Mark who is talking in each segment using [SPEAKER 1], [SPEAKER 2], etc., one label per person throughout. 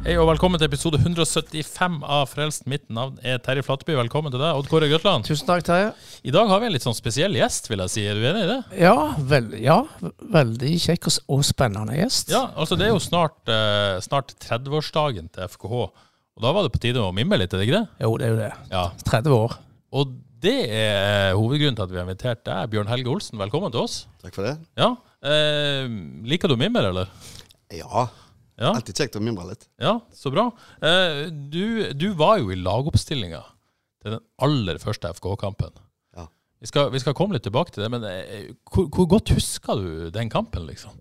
[SPEAKER 1] Hei og velkommen til episode 175 av Frelst. Mitt navn er Terje Flateby. Velkommen til deg, Odd Kåre Grøtland.
[SPEAKER 2] Tusen takk, Terje.
[SPEAKER 1] I dag har vi en litt sånn spesiell gjest, vil jeg si. Er du enig i det?
[SPEAKER 2] Ja, vel, ja, veldig kjekk og, s- og spennende gjest.
[SPEAKER 1] Ja, altså det er jo snart, eh, snart 30-årsdagen til FKH. Og da var det på tide å mimre litt, er det ikke det?
[SPEAKER 2] Jo, det er jo det.
[SPEAKER 1] Ja.
[SPEAKER 2] 30 år.
[SPEAKER 1] Og det er eh, hovedgrunnen til at vi har invitert deg, Bjørn Helge Olsen. Velkommen til oss.
[SPEAKER 3] Takk for det.
[SPEAKER 1] Ja. Eh, liker du mimre, eller?
[SPEAKER 3] Ja.
[SPEAKER 1] Ja.
[SPEAKER 3] Alltid kjekt å mimre litt.
[SPEAKER 1] Ja, så bra. Eh, du, du var jo i lagoppstillinga til den aller første FK-kampen.
[SPEAKER 3] Ja.
[SPEAKER 1] Vi, skal, vi skal komme litt tilbake til det, men eh, hvor, hvor godt husker du den kampen, liksom?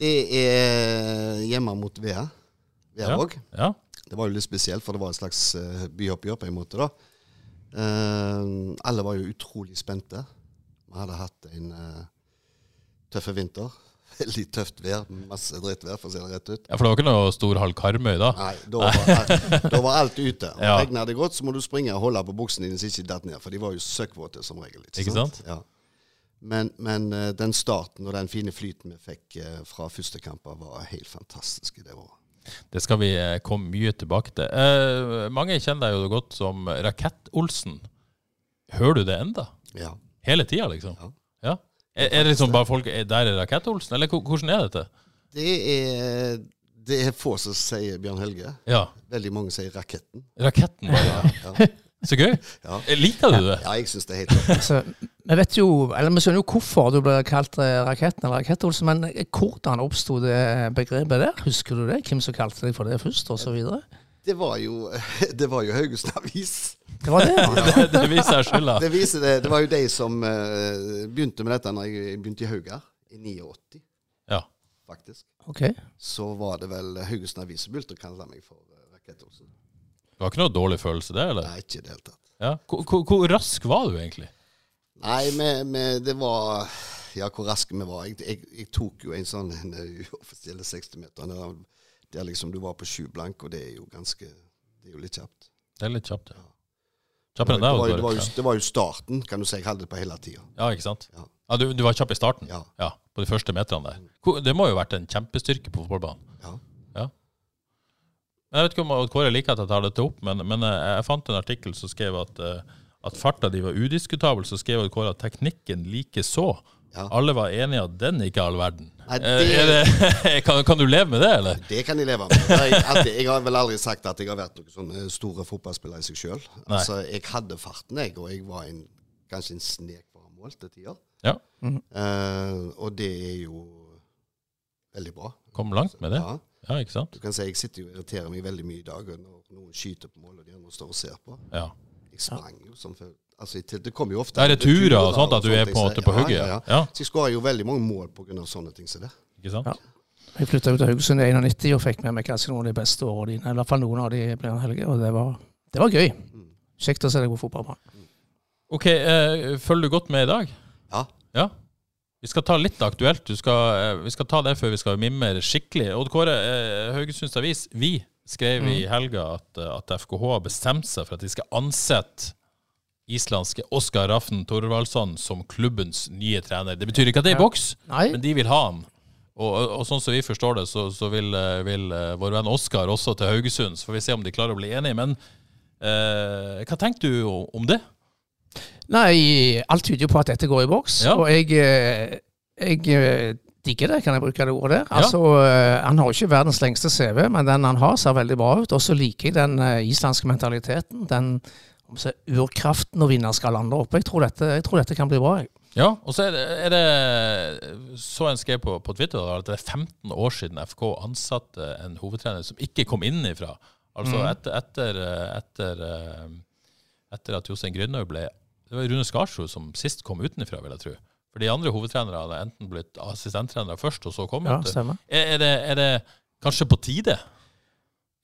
[SPEAKER 3] Det er hjemme mot Vea. Veavåg.
[SPEAKER 1] Ja,
[SPEAKER 3] Det var jo litt spesielt, for det var et slags eh, byoppgjør på en måte, da. Eh, alle var jo utrolig spente. Vi hadde hatt en uh, tøff vinter. Veldig tøft vær, masse drittvær, for å si det rett ut.
[SPEAKER 1] ja for det var ikke noe stor halv Karmøy da?
[SPEAKER 3] Nei, da var, alt- da var alt ute. Og
[SPEAKER 1] Ja.
[SPEAKER 3] Regner det godt, så må du springe og holde på buksene dine så ikke de datt ned, for de var jo søkkvåte som regel.
[SPEAKER 1] Ikke
[SPEAKER 3] Ja. Men, men eh, den starten og den fine flyten vi fikk eh, fra første kampen, var helt fantastisk. i Det året.
[SPEAKER 1] Det skal vi eh, komme mye tilbake til. Eh, mange kjenner deg jo godt som Rakett-Olsen. Hører du det enda?
[SPEAKER 3] Ja.
[SPEAKER 1] Hele tida, liksom?
[SPEAKER 3] Ja.
[SPEAKER 1] Ja. Er, er det liksom bare folk er Der er Rakett-Olsen, eller hvor- hvordan er dette?
[SPEAKER 3] Det, er, det er få som sier Bjørn Helge.
[SPEAKER 1] Ja.
[SPEAKER 3] Veldig mange sier Raketten.
[SPEAKER 1] Raketten, bare.
[SPEAKER 3] Ja,
[SPEAKER 1] Så gøy.
[SPEAKER 3] Ja.
[SPEAKER 1] Eh, Liker du det?
[SPEAKER 3] ja jeg syns det er helt rått.
[SPEAKER 2] Altså, vi vet jo, eller vi skjønner jo hvorfor du ble kalt eh, Raketten eller Rakett-Olsen, men eh, hvordan oppsto det eh, begrepet der? Husker du det? Hvem som kalte deg for det først, og så videre?
[SPEAKER 3] Det var jo, det var jo Haugesund Avis.
[SPEAKER 2] Det var det, ja.
[SPEAKER 1] Det, det viser jeg skylda.
[SPEAKER 3] Det, viser det, det var jo de som eh, begynte med dette når jeg begynte i Haugar, i 89,
[SPEAKER 1] Ja.
[SPEAKER 3] faktisk.
[SPEAKER 2] Ok.
[SPEAKER 3] Så var det vel Haugesund Avis som begynte å kalle meg for eh, Rakett-Olsen.
[SPEAKER 1] Det var ikke noe dårlig følelse, det? eller?
[SPEAKER 3] Nei, ikke i det hele tatt.
[SPEAKER 1] Ja. Hvor, hvor, hvor rask var du egentlig?
[SPEAKER 3] Nei, men, men det var Ja, hvor raske vi var. Jeg, jeg, jeg tok jo en sånn en uoffisiell 60-meter der, der liksom du var på sju blank, og det er jo ganske Det er jo litt kjapt.
[SPEAKER 1] Det er litt kjapt, ja.
[SPEAKER 3] Det
[SPEAKER 1] Kjappere
[SPEAKER 3] var, det, var,
[SPEAKER 1] enn deg? Odd
[SPEAKER 3] det, var
[SPEAKER 1] Kåre.
[SPEAKER 3] jo, det var jo starten, kan du si. Jeg holdt det på hele tida.
[SPEAKER 1] Ja, ikke sant?
[SPEAKER 3] Ja.
[SPEAKER 1] Ja, du, du var kjapp i starten?
[SPEAKER 3] Ja.
[SPEAKER 1] På de første meterne der. Hvor- Det må jo ha vært en kjempestyrke på fotballbanen.
[SPEAKER 3] Ja.
[SPEAKER 1] Men Jeg vet ikke om Odd Kåre liker at jeg tar dette opp, men, men eh, jeg fant en artikkel som skrev at, eh, at farta di var udiskutabel. Så skrev Odd Kåre at teknikken likeså.
[SPEAKER 3] Ja.
[SPEAKER 1] Alle var enige at den ikke er all verden.
[SPEAKER 3] Nei,
[SPEAKER 1] Eh,
[SPEAKER 3] det-
[SPEAKER 1] er det, kan, kan du leve med det, eller?
[SPEAKER 3] Det kan jeg leve med. Jeg, at jeg har vel aldri sagt at jeg har vært noen sånne store fotballspiller i seg sjøl.
[SPEAKER 1] Nei.
[SPEAKER 3] Altså, jeg hadde farten, jeg, og jeg var en, kanskje en snek foran mål til tider.
[SPEAKER 1] Ja.
[SPEAKER 3] Eh, og det er jo veldig bra.
[SPEAKER 1] Kom langt med det.
[SPEAKER 3] Ja.
[SPEAKER 1] Ja, ikke sant?
[SPEAKER 3] Du kan si jeg sitter jo og irriterer meg veldig mye i dag når noen skyter på mål og de andre står og ser på.
[SPEAKER 1] Ja.
[SPEAKER 3] Jeg sprang jo som før. Altså, til- det kommer jo ofte
[SPEAKER 1] Det er returer og sånt, at du
[SPEAKER 3] sånt
[SPEAKER 1] er
[SPEAKER 3] jeg
[SPEAKER 1] på en måte
[SPEAKER 3] ser.
[SPEAKER 1] på hugget.
[SPEAKER 3] Ja, ja, ja.
[SPEAKER 1] Ja,
[SPEAKER 3] Så jeg skårer jo veldig mange mål pga. sånne ting som det.
[SPEAKER 1] ikke sant?
[SPEAKER 2] Ja. Jeg flytta ut av Haugesund i 91 og fikk med meg kanskje noen av de beste årene dine. I hvert fall noen av de ble en helge, og det var, det var gøy.
[SPEAKER 1] Mm.
[SPEAKER 2] Kjekt å se deg på fotballbanen.
[SPEAKER 1] Ok, eh, følger du godt med i dag?
[SPEAKER 3] Ja.
[SPEAKER 1] Ja. Vi skal ta litt aktuelt. Du skal, eh, vi skal ta det før vi skal mimre skikkelig. Odd Kåre, eh, Haugesunds Avis, vi skrev i helga at, eh, at FKH har bestemt seg for at de skal ansette islandske Oskar Rafn Thorvaldsson som klubbens nye trener. Det betyr ikke at det er i boks,
[SPEAKER 2] Nei.
[SPEAKER 1] men de vil ha han. Og, og, og sånn som vi forstår det, så, så vil, eh, vil eh, vår venn Oskar også til Haugesund. Så får vi se om de klarer å bli enige. Men eh, hva tenker du o- om det?
[SPEAKER 2] Nei, alt tyder jo på at dette går i boks.
[SPEAKER 1] Ja.
[SPEAKER 2] Og jeg, eh, jeg eh, digger det, kan jeg bruke det ordet der. Altså, eh, Han har jo ikke verdens lengste CV, men den han har, ser veldig bra ut. Og så liker jeg den eh, islandske mentaliteten. Den om så, urkraften og vinnerskallen der oppe. Jeg tror dette, jeg tror dette kan bli bra. jeg.
[SPEAKER 1] Ja, og så er det, er det Så en skrev på, på Twitter da, at det er 15 år siden FK ansatte en hovedtrener som ikke kom innenfra. Altså etter, etter, eh, etter, eh, etter at Jostein Grynhaug ble Det var Rune Skarsrud som sist kom utenfra, vil jeg tro. For de andre hovedtrenerne hadde enten blitt assistenttrenere først, og så kom
[SPEAKER 2] Ja,
[SPEAKER 1] de.
[SPEAKER 2] stemmer.
[SPEAKER 1] Er, er, det, er det kanskje på tide?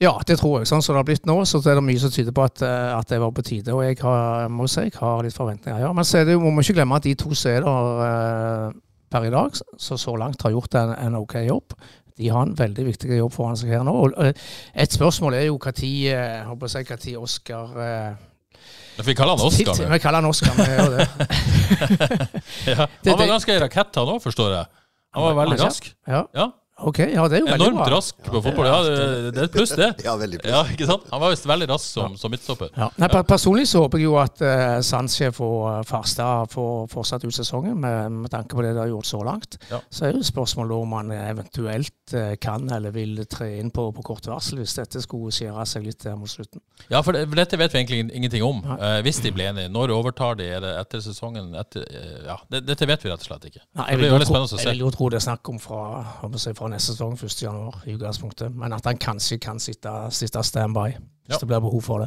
[SPEAKER 2] Ja, det tror jeg. Sånn som det har blitt nå, så er det mye som tyder på at, eh, at det var på tide. Og jeg har, må si, jeg har litt forventninger. Ja, men så er det, jo- må vi ikke glemme at de to som er der eh, per i dag, som så langt har gjort en, en ok jobb. De har en veldig viktig jobb foran seg her nå. Og eh, et spørsmål er jo eh, når si, hva tid Oscar eh,
[SPEAKER 1] Vi kaller han Oskar
[SPEAKER 2] Titt-
[SPEAKER 1] nå.
[SPEAKER 2] Vi kaller han Oscar. Vi gjør det.
[SPEAKER 1] Ja.
[SPEAKER 2] det-
[SPEAKER 1] Han var ganske rakett, han òg, forstår jeg. Han var veldig
[SPEAKER 2] Ja.
[SPEAKER 1] rask.
[SPEAKER 2] Ja.
[SPEAKER 1] Ja,
[SPEAKER 2] Ok, ja, det er jo veldig
[SPEAKER 1] Enormt
[SPEAKER 2] bra.
[SPEAKER 1] rask på fotball. Ja, Eh, det, det er et pluss, det.
[SPEAKER 3] Ja, veldig pluss.
[SPEAKER 1] Ja, ikke sant? Han var visst veldig rask som, som midtstopper.
[SPEAKER 2] Ja. Nei, per- personlig så håper jeg jo at uh, Sanchez og Farstad får fortsatt ut sesongen, med, med tanke på det de har gjort så langt.
[SPEAKER 1] Ja.
[SPEAKER 2] Så er jo spørsmålet om han eventuelt eh, kan eller vil tre inn på, på kort varsel, hvis dette skulle skjære seg litt der mot slutten.
[SPEAKER 1] Ja, for det, for dette vet vi egentlig ingenting om. Eh, hvis de blir enige. Når overtar de? Er det etter sesongen? Etter, eh, ja, det, dette vet vi rett og slett ikke.
[SPEAKER 2] Nei,
[SPEAKER 1] det
[SPEAKER 2] jeg,
[SPEAKER 1] blir
[SPEAKER 2] vil jo
[SPEAKER 1] veldig
[SPEAKER 2] tro,
[SPEAKER 1] spennende å
[SPEAKER 2] jeg vil
[SPEAKER 1] se.
[SPEAKER 2] jo tro det er snakk om fra, om å si, fra neste sesong, 1.1. i utgangspunktet. Men at han kanskje kan sitte, sitte standby hvis
[SPEAKER 1] Ja.
[SPEAKER 2] det blir behov for det.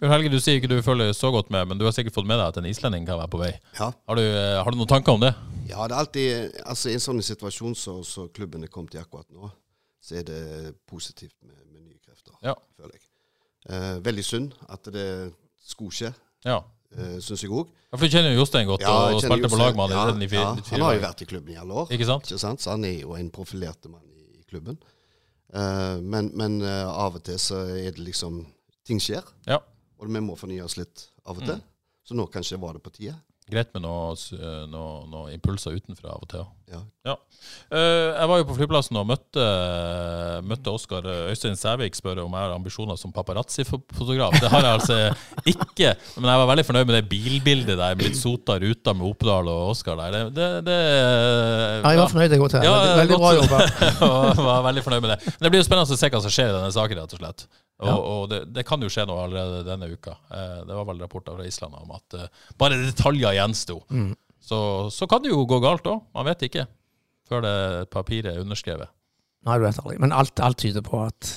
[SPEAKER 1] Bjørn Helge, du sier ikke du følger så godt med, men du har sikkert fått med deg at en islending kan være på vei.
[SPEAKER 3] Ja.
[SPEAKER 1] Har du, eh, har du noen tanker om det?
[SPEAKER 3] Ja, det er alltid Altså, i en sånn situasjon som så, så klubben er kommet i akkurat nå, så er det positivt med, med nye krefter,
[SPEAKER 1] Ja.
[SPEAKER 3] føler jeg. Eh, veldig synd at det skulle skje,
[SPEAKER 1] Ja.
[SPEAKER 3] eh, syns jeg òg.
[SPEAKER 1] Ja, For du kjenner jo Jostein godt, og
[SPEAKER 3] jeg kjenner
[SPEAKER 1] spilte på
[SPEAKER 3] Jostein.
[SPEAKER 1] lag med han i- i fire
[SPEAKER 3] ja,
[SPEAKER 1] i
[SPEAKER 3] Han har jo
[SPEAKER 1] fire år.
[SPEAKER 3] vært i klubben i alle år,
[SPEAKER 1] Ikke sant?
[SPEAKER 3] ikke sant? så han er jo en profilert mann i, i klubben. Eh, men men eh, av og til så er det liksom Ting skjer,
[SPEAKER 1] Ja.
[SPEAKER 3] og vi må fornye oss litt av og
[SPEAKER 1] Mm.
[SPEAKER 3] til. Så nå kanskje var det på tide.
[SPEAKER 1] Greit med noe, s- eh, noe, noe impulser utenfra av og til.
[SPEAKER 3] Ja.
[SPEAKER 1] Eh, jeg var jo på flyplassen og møtte, møtte Oskar eh, Øystein Sævik spørre om jeg har ambisjoner som paparazzi-fotograf. Det har jeg altså ikke, men jeg var veldig fornøyd med det bilbildet der med litt sota ruta med Oppdal og Oskar der. Det, det, det
[SPEAKER 2] Ja, jeg var fornøyd, jeg godt her.
[SPEAKER 1] Ja,
[SPEAKER 2] Veldig- veldig bra
[SPEAKER 1] godt.
[SPEAKER 2] jobba.
[SPEAKER 1] og var veldig fornøyd med det. Men det blir jo spennende å se hva som skjer i denne saken, rett og slett. Og, og det, det kan jo skje noe allerede denne uka. Eh, Det var vel rapporter fra Island om at eh, bare detaljer gjensto.
[SPEAKER 2] Mm.
[SPEAKER 1] Så, så kan det jo gå galt òg. Man vet ikke før det papiret er underskrevet.
[SPEAKER 2] Nei, du vet aldri. Men alt, alt tyder på at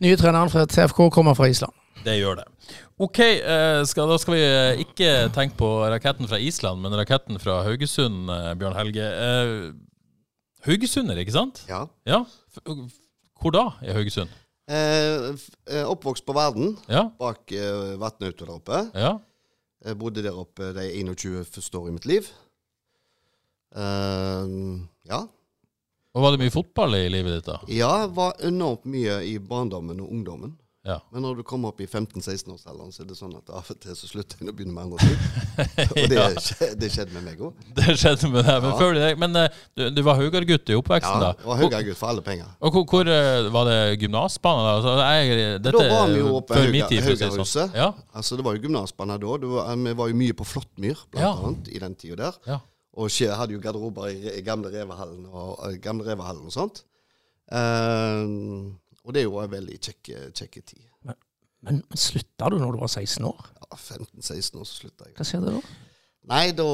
[SPEAKER 2] nye treneren fra TFK kommer fra Island.
[SPEAKER 1] Det gjør det. OK, eh, skal, da skal vi eh, ikke tenke på raketten fra Island, men raketten fra Haugesund, eh, Bjørn Helge. Eh, Haugesunder, ikke sant?
[SPEAKER 3] Ja.
[SPEAKER 1] Ja. F- Hvor da i Haugesund?
[SPEAKER 3] Eh, f- eh, oppvokst på Verden,
[SPEAKER 1] Ja.
[SPEAKER 3] bak eh, Vatnautet der oppe.
[SPEAKER 1] Ja.
[SPEAKER 3] Jeg bodde der oppe de 21 første årene i mitt liv. Ehm, ja.
[SPEAKER 1] Og var det mye fotball i livet ditt da?
[SPEAKER 3] Ja, var enormt mye i barndommen og ungdommen.
[SPEAKER 1] Ja.
[SPEAKER 3] Men når du kommer opp i 15-16-årsalderen, så er det sånn at av og til så slutter en å begynne med andre ting. Og det, skje- det skjedde med meg òg.
[SPEAKER 1] Det skjedde med deg. Men,
[SPEAKER 3] Ja.
[SPEAKER 1] før det, men eh, du, du var Haugar-gutt i
[SPEAKER 3] Ja,
[SPEAKER 1] oppveksten da?
[SPEAKER 3] og Haugagutt for alle penger.
[SPEAKER 1] Og hvor, hvor eh, var det gymnasbane da? Altså, jeg, dette,
[SPEAKER 3] da var vi jo oppe
[SPEAKER 1] før
[SPEAKER 3] i
[SPEAKER 1] min tid, for å si det
[SPEAKER 3] Haugahuset.
[SPEAKER 1] sånn. Ja.
[SPEAKER 3] Altså, det var jo gymnasbane da. Det var, eh, vi var jo mye på Flåttmyr, blant
[SPEAKER 1] Ja.
[SPEAKER 3] annet, i den tida der.
[SPEAKER 1] Ja.
[SPEAKER 3] Og skje- hadde jo garderober i re- gamle Revehallen og, og gamle Revehallen og sånt. Ehm, og det er jo en veldig kjekk kjekk tid.
[SPEAKER 2] Men, men slutta du når du var 16 år?
[SPEAKER 3] Ja, 15-16 år, så slutta jeg.
[SPEAKER 2] Hva skjer det da?
[SPEAKER 3] Nei, da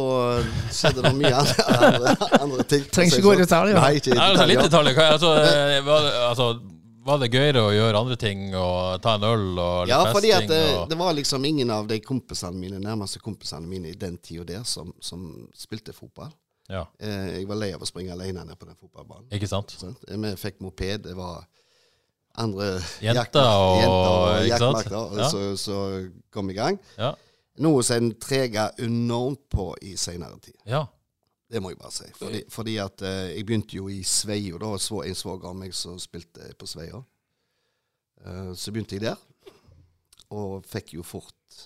[SPEAKER 3] skjedde det mye andre, andre ting.
[SPEAKER 2] Trenger ikke gå i detalj, ja.
[SPEAKER 3] Nei, ikke i
[SPEAKER 1] Nei, altså, litt
[SPEAKER 3] detalj.
[SPEAKER 1] detaljer. Hva- Altså, eh, var, det- altså, var det gøyere å gjøre andre ting og ta en øl og litt
[SPEAKER 3] Ja, fordi at
[SPEAKER 1] festing?
[SPEAKER 3] det,
[SPEAKER 1] og...
[SPEAKER 3] det var liksom ingen av de kompisene mine, nærmeste kompisene mine i den tida der som, som spilte fotball.
[SPEAKER 1] Ja,
[SPEAKER 3] Eh, jeg var lei av å springe alene ned på den fotballbanen.
[SPEAKER 1] ikke sant?
[SPEAKER 3] sant? Eh, Vi fikk moped, det var andre
[SPEAKER 1] Jenter
[SPEAKER 3] jakter-
[SPEAKER 1] og-
[SPEAKER 3] jenter og
[SPEAKER 1] ikke sant?
[SPEAKER 3] jaktmakter, og
[SPEAKER 1] Ja.
[SPEAKER 3] så, så kom i gang.
[SPEAKER 1] Ja.
[SPEAKER 3] Noe som en trega enormt på i seinere tid.
[SPEAKER 1] ja.
[SPEAKER 3] Det må jeg bare si. Fordi, fordi at eh, jeg begynte jo i Sveio, da. og Svo, en svoger av meg som spilte på Sveio. Eh, så begynte jeg der, og fikk jo fort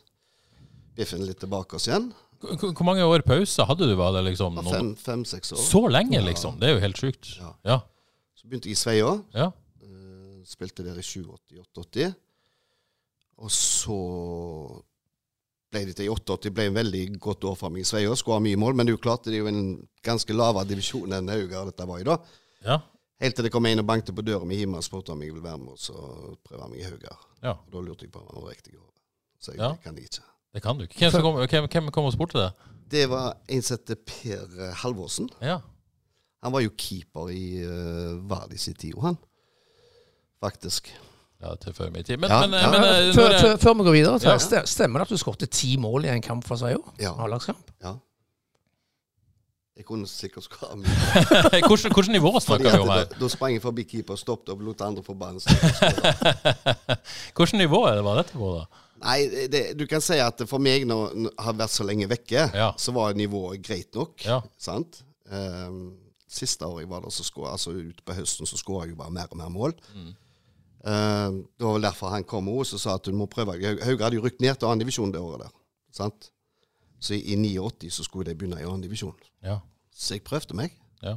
[SPEAKER 3] biffen litt tilbake oss igjen.
[SPEAKER 1] Hvor- Hvor hvor mange år pause hadde du? Var det liksom noen...
[SPEAKER 3] Fem-seks år.
[SPEAKER 1] Så lenge, liksom? Det er jo helt sjukt.
[SPEAKER 3] Ja.
[SPEAKER 1] Ja.
[SPEAKER 3] Så begynte jeg i Sveio.
[SPEAKER 1] ja.
[SPEAKER 3] Eh, spilte der i 87-88. Og så ble det til i 88. Det ble en veldig godt år for meg i Sveio. Skulle ha mye mål, men det er jo klart det er jo en ganske lavere divisjon enn Haugar dette var i da.
[SPEAKER 1] ja.
[SPEAKER 3] Helt til det kom en og bankte på døra mi hjemme og spurte om jeg ville være med og så prøve meg i Haugar.
[SPEAKER 1] Ja.
[SPEAKER 3] Og da lurte jeg på om han var riktig over. Så jeg
[SPEAKER 1] Ja.
[SPEAKER 3] kan det ikke.
[SPEAKER 1] Det kan du ikke. Hvem, som kom, hvem, hvem kom og spurte deg?
[SPEAKER 3] Det var en som heter Per eh, Halvorsen.
[SPEAKER 1] Ja.
[SPEAKER 3] eh, Han var jo keeper i uh, Vardis i tida, han. Faktisk.
[SPEAKER 1] Ja, til før min tid. Men,
[SPEAKER 3] Ja,
[SPEAKER 1] men,
[SPEAKER 3] ja.
[SPEAKER 1] men, eh,
[SPEAKER 2] Før,
[SPEAKER 1] når
[SPEAKER 2] før,
[SPEAKER 1] jeg,
[SPEAKER 2] før vi går videre,
[SPEAKER 1] Ja.
[SPEAKER 2] Terje, ste- stemmer det at du skåret ti mål i en kamp for seg i år?
[SPEAKER 3] Ja.
[SPEAKER 2] A-lagskamp?
[SPEAKER 3] ja. Jeg kunne sikkert skåret mye.
[SPEAKER 1] hvordan, hvordan nivå
[SPEAKER 3] Fordi
[SPEAKER 1] snakker vi
[SPEAKER 3] at
[SPEAKER 1] om her?
[SPEAKER 3] Da, da sprang jeg forbi keeper, stoppet og lot andre få ballen. så-
[SPEAKER 1] Hvilket nivå er det var dette på, da?
[SPEAKER 3] Nei, det, du kan si at for meg, når når jeg har vært så lenge vekke,
[SPEAKER 1] Ja.
[SPEAKER 3] så var nivået greit nok.
[SPEAKER 1] Ja.
[SPEAKER 3] Sant? Ehm, siste året jeg var der, så skå- altså ute på høsten, så skåra jeg jo bare mer og mer mål.
[SPEAKER 1] Mm.
[SPEAKER 3] Ehm, det var vel derfor han kom også og sa at du må prøve. Haug- Hauge hadde jo rykt ned til annen divisjon det året der. Sant? Så i 89 så skulle de begynne i annen divisjon.
[SPEAKER 1] Ja.
[SPEAKER 3] Så jeg prøvde meg.
[SPEAKER 1] ja.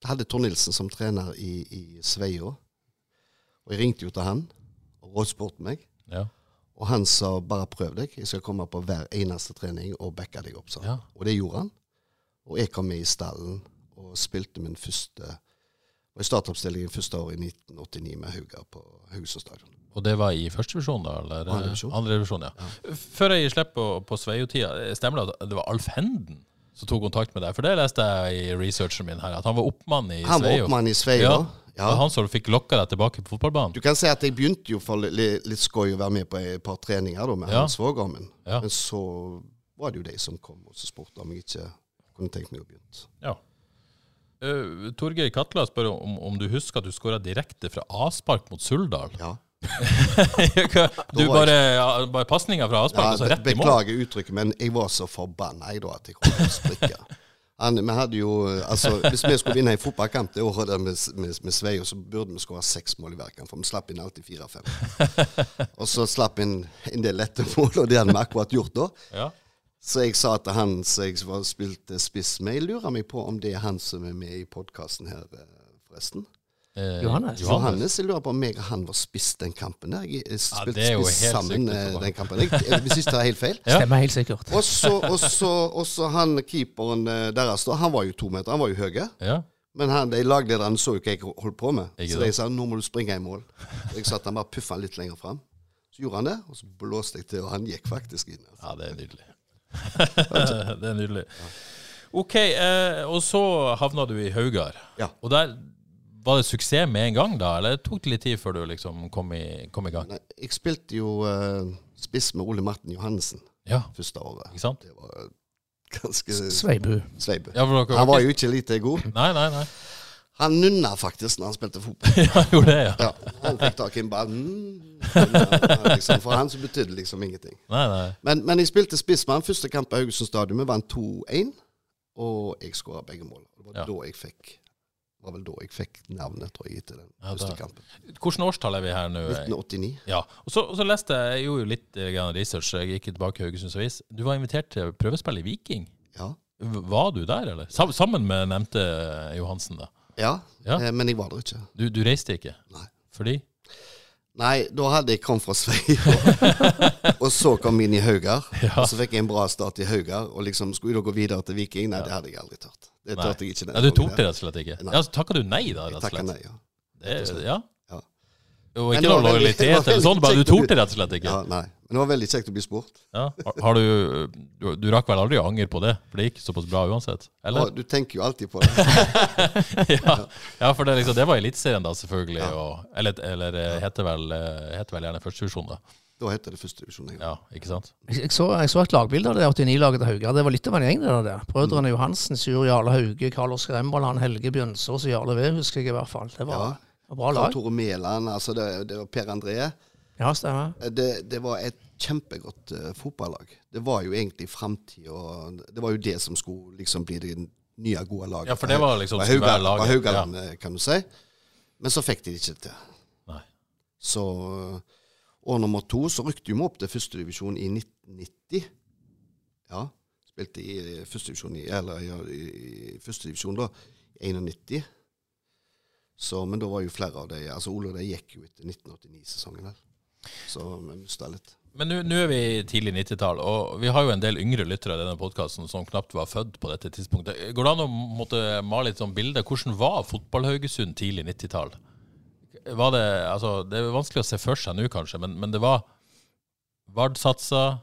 [SPEAKER 3] Jeg hadde Tor Nilsen som trener i, i Sveio. Og jeg ringte jo til han og rådspurte meg.
[SPEAKER 1] ja.
[SPEAKER 3] Og han sa bare prøv deg, jeg skal komme på hver eneste trening og backe deg opp. sa han.
[SPEAKER 1] Ja.
[SPEAKER 3] Og det gjorde han. Og jeg kom med i stallen og spilte min første var i startoppstillingen første år i 1989 med Hauga på Haugesund stadion.
[SPEAKER 1] Og det var i første divisjon, da? Eller?
[SPEAKER 3] Andre divisjon.
[SPEAKER 1] Andre divisjon, ja. Før jeg gir slipp på, på Sveio-tida, stemmer det at det var Alf Henden som tok kontakt med deg? For det leste jeg i researchen min her, at han var oppmann i
[SPEAKER 3] Han var
[SPEAKER 1] Sveio.
[SPEAKER 3] oppmann i Sveio.
[SPEAKER 1] Ja.
[SPEAKER 3] Ja.
[SPEAKER 1] Det var han som fikk lokka deg tilbake på fotballbanen?
[SPEAKER 3] Du kan si at jeg begynte jo for li- litt skøy å være med på et par treninger da, med
[SPEAKER 1] Ja.
[SPEAKER 3] Hans svogeren min.
[SPEAKER 1] Ja.
[SPEAKER 3] Men så var det jo de som kom og så spurte om jeg ikke kunne tenkt meg å begynne.
[SPEAKER 1] Ja. Uh, Torgeir Katla spør om, om du husker at du skåra direkte fra avspark mot Suldal.
[SPEAKER 3] Ja.
[SPEAKER 1] du bare, ja, bare pasninga fra avspark, og så
[SPEAKER 3] Ja,
[SPEAKER 1] rett i mål.
[SPEAKER 3] beklager uttrykket, men jeg var så forbanna jeg da at jeg kom til å sprikke. Han, vi hadde jo, altså, hvis vi skulle vinne en fotballkamp det året der med, med, med Sveio, så burde vi skåre seks mål i hver kamp, for vi slapp inn alltid fire-fem. Og så slapp inn en del lette mål, og det hadde vi akkurat gjort da.
[SPEAKER 1] Ja.
[SPEAKER 3] Så jeg sa til han som jeg var- spilte spiss med, jeg lurer meg på om det er han som er med i podkasten her, eh, forresten.
[SPEAKER 1] Eh,
[SPEAKER 2] Johannes.
[SPEAKER 3] Johannes, jeg lurer på om jeg og han var spiss den kampen der. Jeg eh, spilte
[SPEAKER 1] det er jo
[SPEAKER 3] spiss
[SPEAKER 1] helt
[SPEAKER 3] sammen
[SPEAKER 1] sykt å få.
[SPEAKER 3] eh, den kampen. Jeg, eh, hvis ikke tar jeg helt feil.
[SPEAKER 1] Ja.
[SPEAKER 2] Stemmer helt sikkert.
[SPEAKER 3] Og så, og så, og så han keeperen eh, deres, da, han var jo to meter, han var jo høy.
[SPEAKER 1] Ja.
[SPEAKER 3] Men han, de laglederne så jo hva jeg holdt på med,
[SPEAKER 1] Ikke
[SPEAKER 3] så
[SPEAKER 1] sant.
[SPEAKER 3] de sa nå må du springe i mål. Så jeg sa at han bare puffa litt lenger fram. Så gjorde han det, og så blåste jeg til, og han gikk faktisk inn. Altså.
[SPEAKER 1] ja, det er nydelig. det er nydelig. OK, eh, og så havna du i Haugar.
[SPEAKER 3] Ja.
[SPEAKER 1] Og der var det suksess med en gang, da? Eller tok det litt tid før du liksom kom i, kom i gang?
[SPEAKER 3] Nei, Jeg spilte jo eh, spiss med Ole Martin Johannessen
[SPEAKER 1] Ja,
[SPEAKER 3] første året.
[SPEAKER 1] ikke sant?
[SPEAKER 3] Det var ganske
[SPEAKER 2] Sveibu.
[SPEAKER 3] sveibu.
[SPEAKER 1] Ja, for dere,
[SPEAKER 3] Han var jo ikke lite god.
[SPEAKER 1] Nei, nei, nei.
[SPEAKER 3] Han nunna faktisk når han spilte fotball.
[SPEAKER 1] Ja, han gjorde det, ja.
[SPEAKER 3] Ja, han fikk tak i en ball. Mm, nunna, liksom. For han så betydde det liksom ingenting.
[SPEAKER 1] Nei, nei.
[SPEAKER 3] Men, men jeg spilte spiss med han første kamp på Haugesund Stadion. Vi vant 2-1, og jeg skåra begge mål. Det var
[SPEAKER 1] Ja.
[SPEAKER 3] da jeg fikk var vel da jeg fikk navnet, tror jeg, etter den
[SPEAKER 1] Ja,
[SPEAKER 3] første
[SPEAKER 1] da.
[SPEAKER 3] kampen.
[SPEAKER 1] Hvilket årstall er vi her nå? eh?
[SPEAKER 3] 1989.
[SPEAKER 1] Ja, og så, og så leste jeg, jeg gjorde jo litt eh, grann research, jeg gikk tilbake i Haugesunds Avis. Du var invitert til prøvespill i Viking.
[SPEAKER 3] Ja.
[SPEAKER 1] V- Var du der, eller? Sam- Sammen med nevnte Johansen, da.
[SPEAKER 3] ja.
[SPEAKER 1] Ja.
[SPEAKER 3] Eh, men jeg var der ikke.
[SPEAKER 1] Du, du reiste ikke?
[SPEAKER 3] Nei.
[SPEAKER 1] Fordi?
[SPEAKER 3] Nei, da hadde jeg kommet fra Sveio, og så kom jeg inn i Haugar. Og så fikk jeg en bra start i Haugar, og liksom skulle jeg da gå videre til Viking? Nei, det hadde jeg aldri tørt. Det
[SPEAKER 1] Nei.
[SPEAKER 3] tørte jeg ikke. den
[SPEAKER 1] Ja, du
[SPEAKER 3] gangen
[SPEAKER 1] tok det
[SPEAKER 3] der.
[SPEAKER 1] rett og slett ikke?
[SPEAKER 3] Nei.
[SPEAKER 1] Ja, så takka du nei, da,
[SPEAKER 3] Jeg
[SPEAKER 1] rett og
[SPEAKER 3] takket
[SPEAKER 1] slett?
[SPEAKER 3] nei, ja.
[SPEAKER 1] Det, ja.
[SPEAKER 3] Ja.
[SPEAKER 1] Og
[SPEAKER 3] Men
[SPEAKER 1] ikke
[SPEAKER 3] det var veldig- det
[SPEAKER 1] noe
[SPEAKER 3] var
[SPEAKER 1] lojalitet eller sånn,
[SPEAKER 3] veldig
[SPEAKER 1] bare du
[SPEAKER 3] kjekt å
[SPEAKER 1] tok
[SPEAKER 3] bli-
[SPEAKER 1] det rett og slett ikke?
[SPEAKER 3] ja. Nei. Men det var veldig kjekt å bli spurt.
[SPEAKER 1] Ja. Har- Har du, du, du rakk vel aldri å angre på det, for det gikk såpass bra uansett?
[SPEAKER 3] Å,
[SPEAKER 1] Eller?
[SPEAKER 3] du tenker jo alltid på det.
[SPEAKER 1] Ja, ja for det, er liksom, det var Eliteserien, da, selvfølgelig. Og, eller eller eh, heter, vel, eh, heter vel gjerne førstevisjon, da.
[SPEAKER 3] Da heter det første divisjon. egentlig.
[SPEAKER 1] Ja, ikke sant?
[SPEAKER 2] Jeg, jeg, så, jeg så et lagbilde av det 89-laget til Haugar. Det var litt av en gjeng, det der.
[SPEAKER 1] Mm.
[SPEAKER 2] Brødrene Johansen, Sjur Jarle Hauge, Karl Oskar Rembold, han Helge Bjønsås og Jarle Ved, husker jeg i hvert fall. Det var
[SPEAKER 3] Ja.
[SPEAKER 2] det var bra
[SPEAKER 3] Karl
[SPEAKER 2] lag.
[SPEAKER 3] Tore Mæland, altså det, det var Per André.
[SPEAKER 2] Ja, stemmer.
[SPEAKER 3] Det, det var et kjempegodt eh, fotballag. Det var jo egentlig framtida. Det var jo det som skulle liksom bli det nye, gode laget.
[SPEAKER 1] Ja, for det var liksom
[SPEAKER 3] Fra
[SPEAKER 1] som var
[SPEAKER 3] Haugaland,
[SPEAKER 1] laget,
[SPEAKER 3] fra Haugaland, eh, kan du si. Men så fikk de det ikke til.
[SPEAKER 1] Nei.
[SPEAKER 3] Så eh, år nummer to så rykte vi opp til førstedivisjon i 1990. Ja. Spilte i førstedivisjon i, eller, ja, i første divisjon da, i 91. Så, men da var jo flere av de altså Ole og de gikk jo etter 1989-sesongen. vel. Så vi mista litt.
[SPEAKER 1] Men nå- nå er vi i tidlig 90-tall, og vi har jo en del yngre lyttere i denne podkasten som knapt var født på dette tidspunktet. Går det an å måtte male litt sånn bilde? Hvordan var fotball-Haugesund tidlig 90-tall? Var det Altså, det er vanskelig å se for seg nå, kanskje, men, men det var Vard-satsa,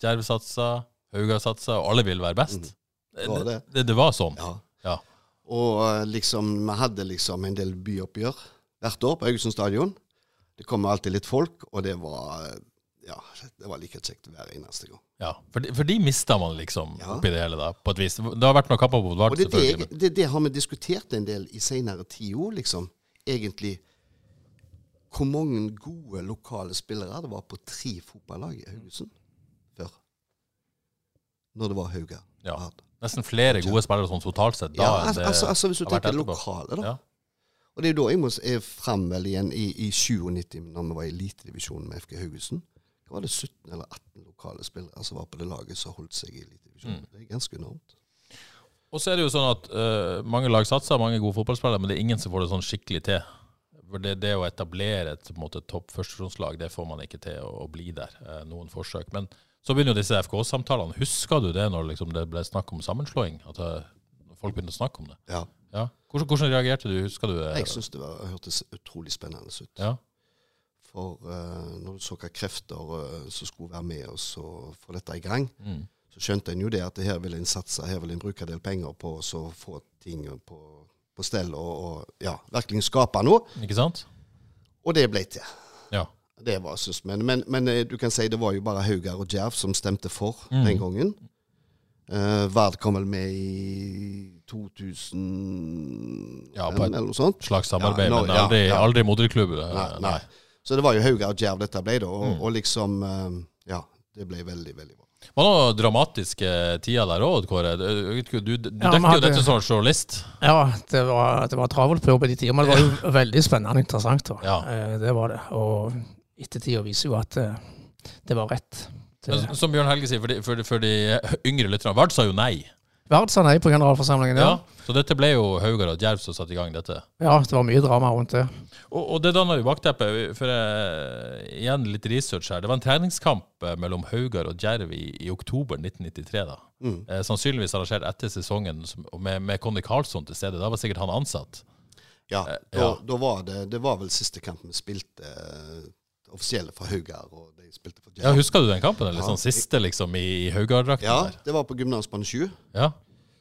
[SPEAKER 1] Djerv-satsa, Haugar-satsa, og alle ville være best.
[SPEAKER 3] Det Mm. var det.
[SPEAKER 1] Det, det var sånn.
[SPEAKER 3] Ja.
[SPEAKER 1] Ja.
[SPEAKER 3] Og eh, liksom, vi hadde liksom en del byoppgjør hvert år på Haugesund stadion. Det kommer alltid litt folk, og det var, eh, ja, det var like kjekt hver eneste gang.
[SPEAKER 1] Ja, for de, for de mista man liksom
[SPEAKER 3] Ja.
[SPEAKER 1] oppi det hele, da, på et vis. Det har vært noen kamper på
[SPEAKER 3] Og
[SPEAKER 1] Boulevard,
[SPEAKER 3] det, er det,
[SPEAKER 1] selvfølgelig.
[SPEAKER 3] jeg- det, det har vi diskutert en del i senere tiår, liksom. Egentlig hvor mange gode lokale spillere det var på tre fotballag i Haugesund før. Når det var Hauga.
[SPEAKER 1] Ja.
[SPEAKER 3] Vard.
[SPEAKER 1] Nesten flere gode spillere sånn totalt sett. Da,
[SPEAKER 3] ja
[SPEAKER 1] enn
[SPEAKER 3] altså,
[SPEAKER 1] det
[SPEAKER 3] altså, altså hvis du
[SPEAKER 1] har vært
[SPEAKER 3] tenker
[SPEAKER 1] etterpå.
[SPEAKER 3] lokale, da.
[SPEAKER 1] Ja.
[SPEAKER 3] Og det er jo da jeg må se fram vel igjen i, i 97, når vi var i elitedivisjonen med FK Haugesund. Da var det 17 eller 18 lokale spillere som var på det laget som holdt seg i elitedivisjonen.
[SPEAKER 1] Mm.
[SPEAKER 3] Det er ganske enormt.
[SPEAKER 1] Og så er det jo sånn at eh, mange lag satser, mange gode fotballspillere, men det er ingen som får det sånn skikkelig til. For det, det å etablere et på en måte, topp førstesjonslag, det får man ikke til å, å bli der. eh, noen forsøk. Men så begynner jo disse FK-samtalene. Husker du det når liksom, det ble snakk om sammenslåing? At eh, folk begynte å snakke om det?
[SPEAKER 3] Ja.
[SPEAKER 1] Ja. Hvordan, hvordan reagerte du? Husker du det?
[SPEAKER 3] Jeg syns det var, hørtes utrolig spennende ut.
[SPEAKER 1] Ja.
[SPEAKER 3] For eh, når du så hvilke krefter eh, som skulle være med oss og få dette i gang,
[SPEAKER 1] Mm.
[SPEAKER 3] så skjønte en jo det at her vil en satse, her vil en bruke en del penger på å så få ting på, på stell og, og ja, virkelig skape noe.
[SPEAKER 1] Ikke sant?
[SPEAKER 3] Og det ble til.
[SPEAKER 1] Ja.
[SPEAKER 3] Det var synes men, men, men eh, du kan si det var jo bare Haugar og Djerv som stemte for
[SPEAKER 1] Mm.
[SPEAKER 3] den gangen. Eh, Vard kom vel med i 2000
[SPEAKER 1] Ja, på et
[SPEAKER 3] eller noe sånt.
[SPEAKER 1] Slags samarbeid,
[SPEAKER 3] Ja, nå-
[SPEAKER 1] men
[SPEAKER 3] ja,
[SPEAKER 1] aldri,
[SPEAKER 3] ja.
[SPEAKER 1] aldri moderklubb. eh,
[SPEAKER 3] Nei, nei. Så det var jo Haugar og Djerv dette ble, da. Og,
[SPEAKER 1] Mm.
[SPEAKER 3] og liksom eh, Ja, det ble veldig, veldig bra.
[SPEAKER 1] Det var noen dramatiske tider der òg, Kåre. Du, du, du
[SPEAKER 2] Ja,
[SPEAKER 1] dekker
[SPEAKER 2] men
[SPEAKER 1] jo
[SPEAKER 2] hadde-
[SPEAKER 1] dette som journalist.
[SPEAKER 2] Ja, det var, det var travelt på jobb i de tider, men det var jo veldig spennende og interessant. Da.
[SPEAKER 1] Ja.
[SPEAKER 2] Eh, Det var det. Og ettertida viser jo at eh, det var rett. Det-
[SPEAKER 1] Men Som Bjørn Helge sier, for de, for de, for de yngre lytterne, Vard sa jo nei.
[SPEAKER 2] Vard sa nei på generalforsamlingen, ja.
[SPEAKER 1] Ja. Så dette ble jo Haugar og Djerv som satte i gang dette.
[SPEAKER 2] Ja, det var mye drama rundt det.
[SPEAKER 1] Og, og det danner jo bakteppet for eh, igjen litt research her. Det var en treningskamp eh, mellom Haugar og Djerv i, i oktober 1993. da.
[SPEAKER 3] Mm.
[SPEAKER 1] Eh, sannsynligvis arrangert etter sesongen som, og med, med Conny Carlsson til stede. Da var sikkert han ansatt.
[SPEAKER 3] Ja,
[SPEAKER 1] Eh,
[SPEAKER 3] da,
[SPEAKER 1] ja.
[SPEAKER 3] da var det Det var vel siste kampen vi spilte eh, offisielle for Haugar, og de spilte for
[SPEAKER 1] Ja,
[SPEAKER 3] Djerv.
[SPEAKER 1] Husker du den kampen? Eller
[SPEAKER 3] Ja.
[SPEAKER 1] sånn siste, liksom, i, i Haugar-drakten?
[SPEAKER 3] Ja,
[SPEAKER 1] der?
[SPEAKER 3] det var på Gymnasbanen 7.
[SPEAKER 1] Ja.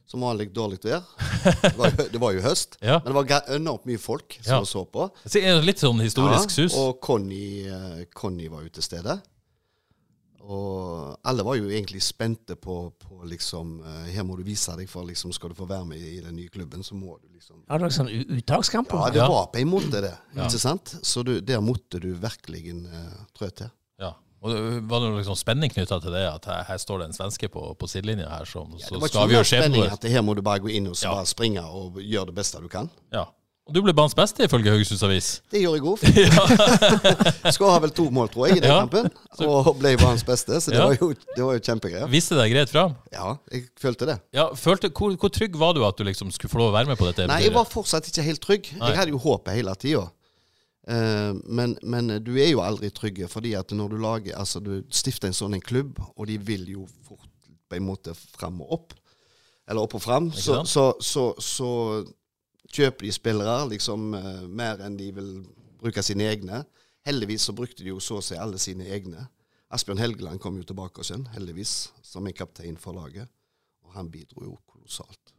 [SPEAKER 3] Som vanlig dårlig vær. Det var, jo- det var jo høst.
[SPEAKER 1] Ja.
[SPEAKER 3] Men det var ga- enormt mye folk som
[SPEAKER 1] Ja.
[SPEAKER 3] så på.
[SPEAKER 1] Så er det Litt sånn historisk
[SPEAKER 3] Ja,
[SPEAKER 1] sus.
[SPEAKER 3] Og Conny, eh, Conny var jo til stede. Og alle var jo egentlig spente på, på liksom eh, Her må du vise deg, for liksom skal du få være med i den nye klubben, så må du liksom
[SPEAKER 2] Ja, det var sånn u- uttakskamper.
[SPEAKER 3] Ja, det
[SPEAKER 1] Ja.
[SPEAKER 3] var på en måte det, ikke sant? Så du, der måtte du virkelig uh, trå til.
[SPEAKER 1] Ja. Og det Var det noe liksom spenning knytta til det, at her, her står det en svenske på, på sidelinja her som
[SPEAKER 3] Det
[SPEAKER 1] som
[SPEAKER 3] var
[SPEAKER 1] skal
[SPEAKER 3] ikke noe
[SPEAKER 1] avgjøre skjebnen
[SPEAKER 3] spenning
[SPEAKER 1] vår?
[SPEAKER 3] at her må du bare gå inn og så
[SPEAKER 1] Ja.
[SPEAKER 3] bare springe og gjøre det beste du kan.
[SPEAKER 1] Ja. Og du ble banens beste, ifølge Haugesunds Avis.
[SPEAKER 3] Det gjorde jeg òg. Skåra vel to mål, tror jeg, i den
[SPEAKER 1] Ja.
[SPEAKER 3] kampen. Og ble banens beste, så det
[SPEAKER 1] Ja.
[SPEAKER 3] var jo, det var jo kjempegreier.
[SPEAKER 1] Viste deg greit fram?
[SPEAKER 3] Ja, jeg følte det.
[SPEAKER 1] Ja, følte, hvor, hvor trygg var du at du liksom skulle få lov å være med på dette?
[SPEAKER 3] Nei,
[SPEAKER 1] eventyret?
[SPEAKER 3] jeg var fortsatt ikke helt trygg.
[SPEAKER 1] Nei.
[SPEAKER 3] Jeg hadde jo håpet hele tida. men, men du er jo aldri trygg, fordi at når du lager Altså, du stifter en sånn en klubb, og de vil jo fort på en måte fram og opp. Eller opp og fram.
[SPEAKER 1] Ikke
[SPEAKER 3] Så,
[SPEAKER 1] sant?
[SPEAKER 3] så, så, så kjøper de spillere liksom eh, mer enn de vil bruke sine egne. Heldigvis så brukte de jo så å si alle sine egne. Asbjørn Helgeland kom jo tilbake oss igjen, heldigvis, som en kaptein for laget. Og han bidro jo kolossalt.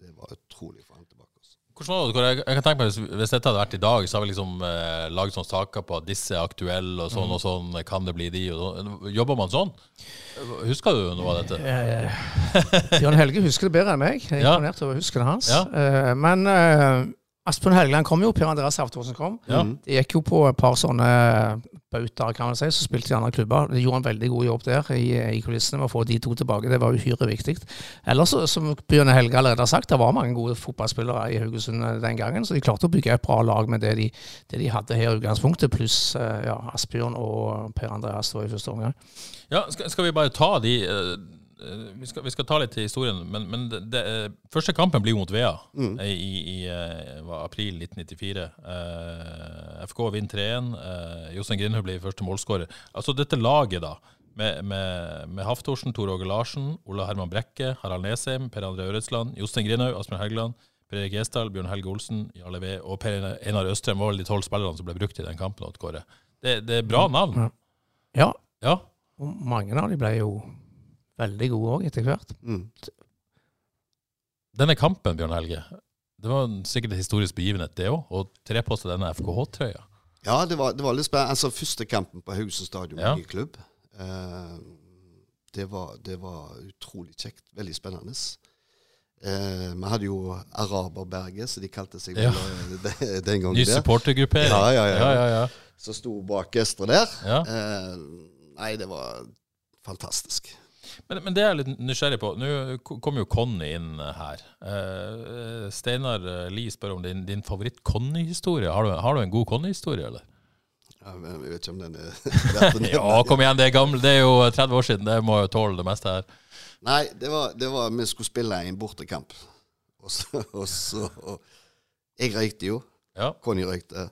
[SPEAKER 3] Det var utrolig for han tilbake altså. oss.
[SPEAKER 1] Hvordan var det? Kåre? Jeg, jeg kan tenke meg, hvis, hvis dette hadde vært i dag, så hadde vi liksom eh, laget sånne saker på at disse er aktuelle, og
[SPEAKER 3] Mm.
[SPEAKER 1] sånn og sånn, kan det bli de, og sånn. Jobber man sånn? Husker du noe av dette?
[SPEAKER 2] Eh, Bjørn Helge husker det bedre enn meg. Jeg er
[SPEAKER 1] Ja.
[SPEAKER 2] imponert over husken hans.
[SPEAKER 1] Ja.
[SPEAKER 2] Eh, men eh, Asbjørn Helgeland kom jo, Per Andreas Aftorsen kom.
[SPEAKER 1] Ja.
[SPEAKER 2] Det gikk jo på et par sånne bautaer, kan man si, som spilte i andre klubber. De gjorde en veldig god jobb der i, i kulissene med å få de to tilbake. Det var uhyre viktig. Ellers, så- som Bjørn Helge allerede har sagt, det var mange gode fotballspillere i Haugesund eh, den gangen, så de klarte å bygge et bra lag med det de, det de hadde her i utgangspunktet, pluss eh, ja, Asbjørn og Per Andreas da i første omgang.
[SPEAKER 1] Ja, skal, skal vi bare ta de eh, eh, vi, skal, vi skal ta litt til historien, men, men det, det, eh, første kampen blir jo mot Vea eh, i, i eh, var april 1994. Eh, FK vinner 3-1. Eh, Jostein Grindhaug blir første målskårer. Altså dette laget, da. Med, med, med Haftorsen, Tor Åge Larsen, Ola Herman Brekke, Harald Nesheim, Per André Øretsland, Jostein Grindhaug, Asbjørn Helgeland, Per Erik Gjesdal, Bjørn Helge Olsen, Jarle Wee og Per Einar Østrem var vel de tolv spillerne som ble brukt i den kampen. Odd Kåre. Det, det er bra navn.
[SPEAKER 2] Ja,
[SPEAKER 1] Ja.
[SPEAKER 2] Og mange av de ble jo veldig gode òg etter hvert.
[SPEAKER 3] Mm.
[SPEAKER 1] Denne kampen, Bjørn Helge, det var en- sikkert en historisk begivenhet, det òg. Å tre på seg denne FKH-trøya.
[SPEAKER 3] Ja, det var, det var litt spennende. Altså, første kampen på Haugesund stadion
[SPEAKER 1] Ja.
[SPEAKER 3] i klubb, eh, det, var, det var utrolig kjekt. Veldig spennende. Eh, vi hadde jo Araberberget, som de kalte seg
[SPEAKER 1] Ja.
[SPEAKER 3] vel, eh, de- den
[SPEAKER 1] Ny
[SPEAKER 3] gangen. der,
[SPEAKER 1] supportergruppering.
[SPEAKER 3] Ja, ja, ja.
[SPEAKER 1] ja, ja.
[SPEAKER 3] Som sto bak Østre der.
[SPEAKER 1] Ja.
[SPEAKER 3] Eh, nei, det var fantastisk.
[SPEAKER 1] Men, men det er jeg litt nysgjerrig på. Nå kom jo Conny inn her. Eh, Steinar eh, Lie spør om din, din favoritt-Conny-historie. Har, du- har du en god Conny-historie, eller?
[SPEAKER 3] Ja, men jeg vet ikke om den er verdt å nevne.
[SPEAKER 1] Ja, kom igjen, det er, gamle, det er jo 30 år siden. Det må jo tåle det meste her.
[SPEAKER 3] Nei, det var, det var vi skulle spille en bortekamp. Og så, og så og, Jeg røykte jo.
[SPEAKER 1] Ja.
[SPEAKER 3] Conny røykte.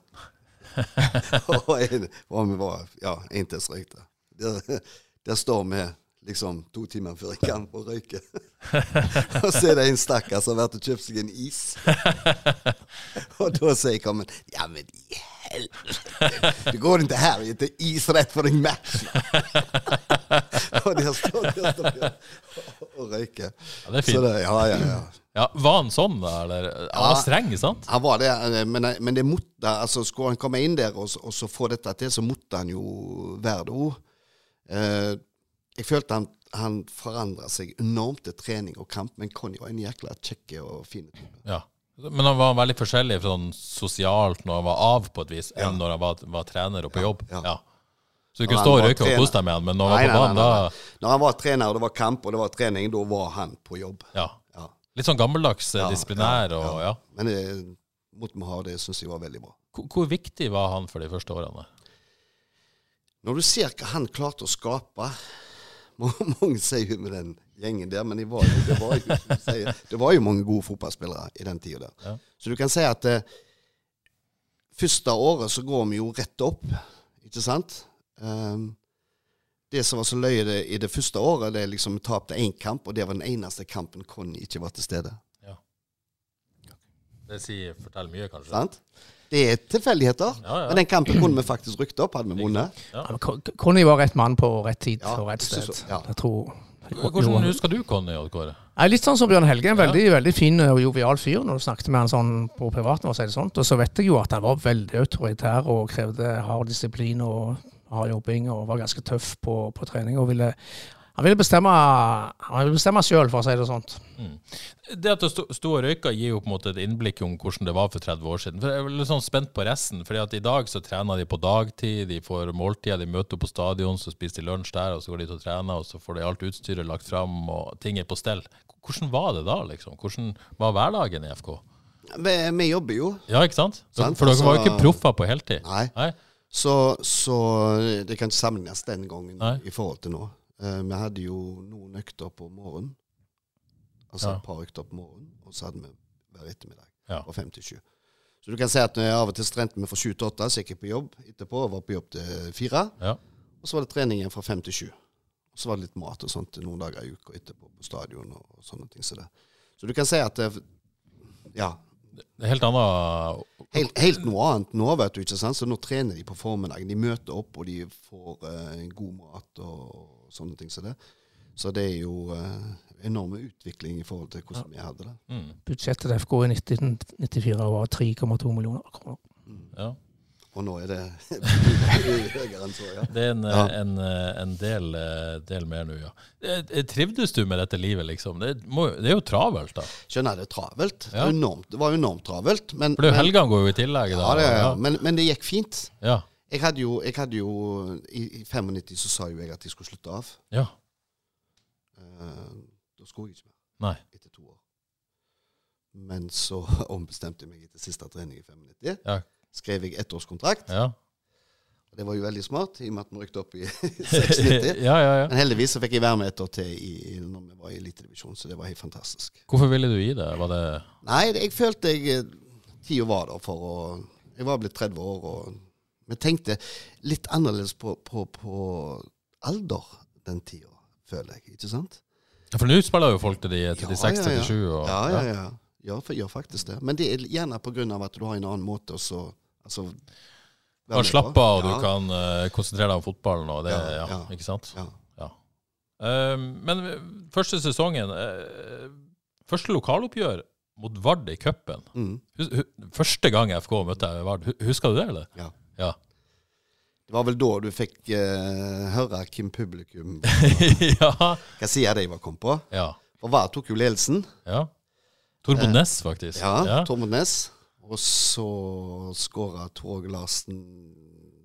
[SPEAKER 3] og en, og vi var, ja, en til som røykte. Der, der står vi liksom to timer før en kamp og røyker. og så er det en stakkar som har vært og kjøpt seg en is. og da sier Kammen Ja, men i helvete! Du går ikke her og gir is rett for en match! og der står der står vi og- og røyker.
[SPEAKER 1] Ja, det er fint.
[SPEAKER 3] Så det, ja, ja, ja.
[SPEAKER 1] Ja, var han sånn, da? Eller? Han var streng, sant?
[SPEAKER 3] Han var det, eh, men, men det måtte, altså, skulle han komme inn der og, og så få dette til, så måtte han jo være det òg. Eh, jeg følte han, han forandra seg enormt til trening og kamp, men Conny var en jækla kjekk og fin type.
[SPEAKER 1] Ja. Men han var veldig forskjellig sånn sosialt når han var av, på et vis, enn når han var, var trener og på jobb.
[SPEAKER 3] ja.
[SPEAKER 1] Ja. Så du
[SPEAKER 3] Når
[SPEAKER 1] kunne
[SPEAKER 3] han
[SPEAKER 1] stå og
[SPEAKER 3] var
[SPEAKER 1] røyke og
[SPEAKER 3] trener.
[SPEAKER 1] kose deg med han, men når han var på banen, da
[SPEAKER 3] Når han var trener, og det var kamp og det var trening, da var han på jobb.
[SPEAKER 1] ja.
[SPEAKER 3] Ja.
[SPEAKER 1] Litt sånn gammeldags, eh,
[SPEAKER 3] Ja,
[SPEAKER 1] disiplinær
[SPEAKER 3] ja,
[SPEAKER 1] og ja.
[SPEAKER 3] Men det måtte vi ha, det syns jeg var veldig bra.
[SPEAKER 1] Hvor, hvor viktig var han for de første årene?
[SPEAKER 3] Når du ser hva han klarte å skape må- Mange sier jo med den gjengen der, men de var jo, det, var jo, som du sier, det var jo mange gode fotballspillere i den tida der.
[SPEAKER 1] Ja.
[SPEAKER 3] Så du kan si at eh, første året så går vi jo rett opp, ikke sant? Ehm, det som var så løye det, i det første året, det er liksom vi tapte én kamp, og det var den eneste kampen Conny ikke var til stede.
[SPEAKER 1] Det sier, forteller mye, kanskje.
[SPEAKER 3] Sant? Det er tilfeldigheter,
[SPEAKER 1] Ja, ja.
[SPEAKER 3] men den kampen kunne vi faktisk rykket opp, hadde vi vunnet.
[SPEAKER 1] Ja.
[SPEAKER 2] Ja, men Con- Conny var rett mann på rett tid
[SPEAKER 3] Ja,
[SPEAKER 2] og rett
[SPEAKER 3] jeg synes
[SPEAKER 2] sted.
[SPEAKER 3] så, ja.
[SPEAKER 2] Jeg tror
[SPEAKER 1] Hvordan husker du Conny Odd Kåre?
[SPEAKER 2] Nei, Litt sånn som Bjørn Helge. En veldig veldig fin eh, og jovial fyr når du snakket med han sånn på privaten. Og så, er det sånt. og så vet jeg jo at han var veldig autoritær og krevde hard disiplin og hard jobbing. Og var ganske tøff på, på trening. og ville... Han ville bestemme, han ville bestemme sjøl, for å si det sånn. sånt.
[SPEAKER 1] Det at du sto, sto og røyka, gir jo på en måte et innblikk om hvordan det var for 30 år siden. For Jeg er litt sånn spent på resten. fordi at i dag så trener de på dagtid, de får måltider, de møter opp på stadion, så spiser de lunsj der, og så går de ut og trener, og så får de alt utstyret lagt fram, og ting er på stell. Hvordan var det da, liksom? Hvordan var hverdagen i FK?
[SPEAKER 3] Vi, vi jobber jo.
[SPEAKER 1] Ja, ikke sant? Dere,
[SPEAKER 3] Sant,
[SPEAKER 1] for dere var jo
[SPEAKER 3] altså-
[SPEAKER 1] ikke proffer på heltid.
[SPEAKER 3] Nei.
[SPEAKER 1] Nei?
[SPEAKER 3] Så, så eh, det kan ikke sammenlignes den gangen
[SPEAKER 1] Nei.
[SPEAKER 3] i forhold til nå. Eh, vi hadde jo noen økter på morgenen. Altså
[SPEAKER 1] Ja.
[SPEAKER 3] et par økter på morgenen, og så hadde vi hver ettermiddag
[SPEAKER 1] Ja.
[SPEAKER 3] fra fem til sju. Så du kan si at når jeg av og til trente vi fra sju til åtte, så gikk jeg på jobb etterpå og var på jobb til fire.
[SPEAKER 1] Ja.
[SPEAKER 3] Og så var det trening igjen fra fem til sju. Og så var det litt mat og sånt noen dager i uka etterpå på stadion og, og sånne ting. Så, det. så du kan si at det, ja,
[SPEAKER 1] Det er Helt annet
[SPEAKER 3] Helt, helt noe annet nå, vet du, ikke sant? Så nå trener de på formiddagen. De møter opp, og de får eh, god mat og sånne ting som det. Så det er jo eh, enorme utvikling i forhold til hvordan vi hadde det.
[SPEAKER 1] mm,
[SPEAKER 2] Budsjettet til FK i 1994 var 3,2 millioner kroner.
[SPEAKER 1] ja.
[SPEAKER 3] Og nå er det høyere enn så, ja.
[SPEAKER 1] Det er en,
[SPEAKER 3] Ja.
[SPEAKER 1] en, en del, del mer nå, ja. Eh, Trivdes du med dette livet, liksom? Det, må, jo- det er jo travelt, da.
[SPEAKER 3] Skjønner jeg, det er travelt. Det,
[SPEAKER 1] Ja.
[SPEAKER 3] er enormt, det var enormt travelt. Men,
[SPEAKER 1] For det er jo
[SPEAKER 3] men,
[SPEAKER 1] helgene går jo i tillegg. Da.
[SPEAKER 3] ja, det, er- men, men det gikk fint.
[SPEAKER 1] ja.
[SPEAKER 3] Jeg hadde jo, jeg hadde jo i, I 95 så sa jo jeg at jeg skulle slutte av.
[SPEAKER 1] ja.
[SPEAKER 3] Eh, da skulle jeg ikke mer.
[SPEAKER 1] Nei.
[SPEAKER 3] etter to år. Men så ombestemte jeg meg etter siste trening i 95.
[SPEAKER 1] Ja.
[SPEAKER 3] Skrev jeg ettårskontrakt.
[SPEAKER 1] Ja.
[SPEAKER 3] og Det var jo veldig smart, i og med at vi rykket opp i
[SPEAKER 1] ja,
[SPEAKER 3] 96.
[SPEAKER 1] ja, ja.
[SPEAKER 3] Men heldigvis så fikk jeg være med ett år til i, i- når vi var i elitedivisjon, så det var helt fantastisk.
[SPEAKER 1] Hvorfor ville du gi det? Var det
[SPEAKER 3] Nei, det, jeg følte jeg eh, tida var der for å Jeg var blitt 30 år, og vi tenkte litt annerledes på, på, på alder den tida, føler jeg. Ikke sant?
[SPEAKER 1] Ja, For nå spiller jo folk til de til de
[SPEAKER 3] Ja,
[SPEAKER 1] 6
[SPEAKER 3] ja, ja.
[SPEAKER 1] 37 og
[SPEAKER 3] Ja, ja, ja. Ja, for, gjør faktisk det. Men det er gjerne på grunn av at du har en annen måte å så altså,
[SPEAKER 1] Du kan slappe av, og du kan eh, konsentrere deg om fotballen og det,
[SPEAKER 3] Ja,
[SPEAKER 1] ja,
[SPEAKER 3] ja.
[SPEAKER 1] ikke sant?
[SPEAKER 3] Ja.
[SPEAKER 1] Eh, men første sesongen eh, Første lokaloppgjør mot Vard i cupen.
[SPEAKER 3] Mm.
[SPEAKER 1] Hus- hu- Første gang FK møtte Vard. Hu- Husker du det, eller?
[SPEAKER 3] Ja.
[SPEAKER 1] Ja.
[SPEAKER 3] Det var vel da du fikk eh, høre hvem publikum
[SPEAKER 1] ja.
[SPEAKER 3] Hva sier de var kom på?
[SPEAKER 1] ja.
[SPEAKER 3] Og hva tok jo ledelsen?
[SPEAKER 1] ja. Torbo Næss, faktisk.
[SPEAKER 3] Eh, Ja, Tormod Næss. Og så skåra Torg Larsen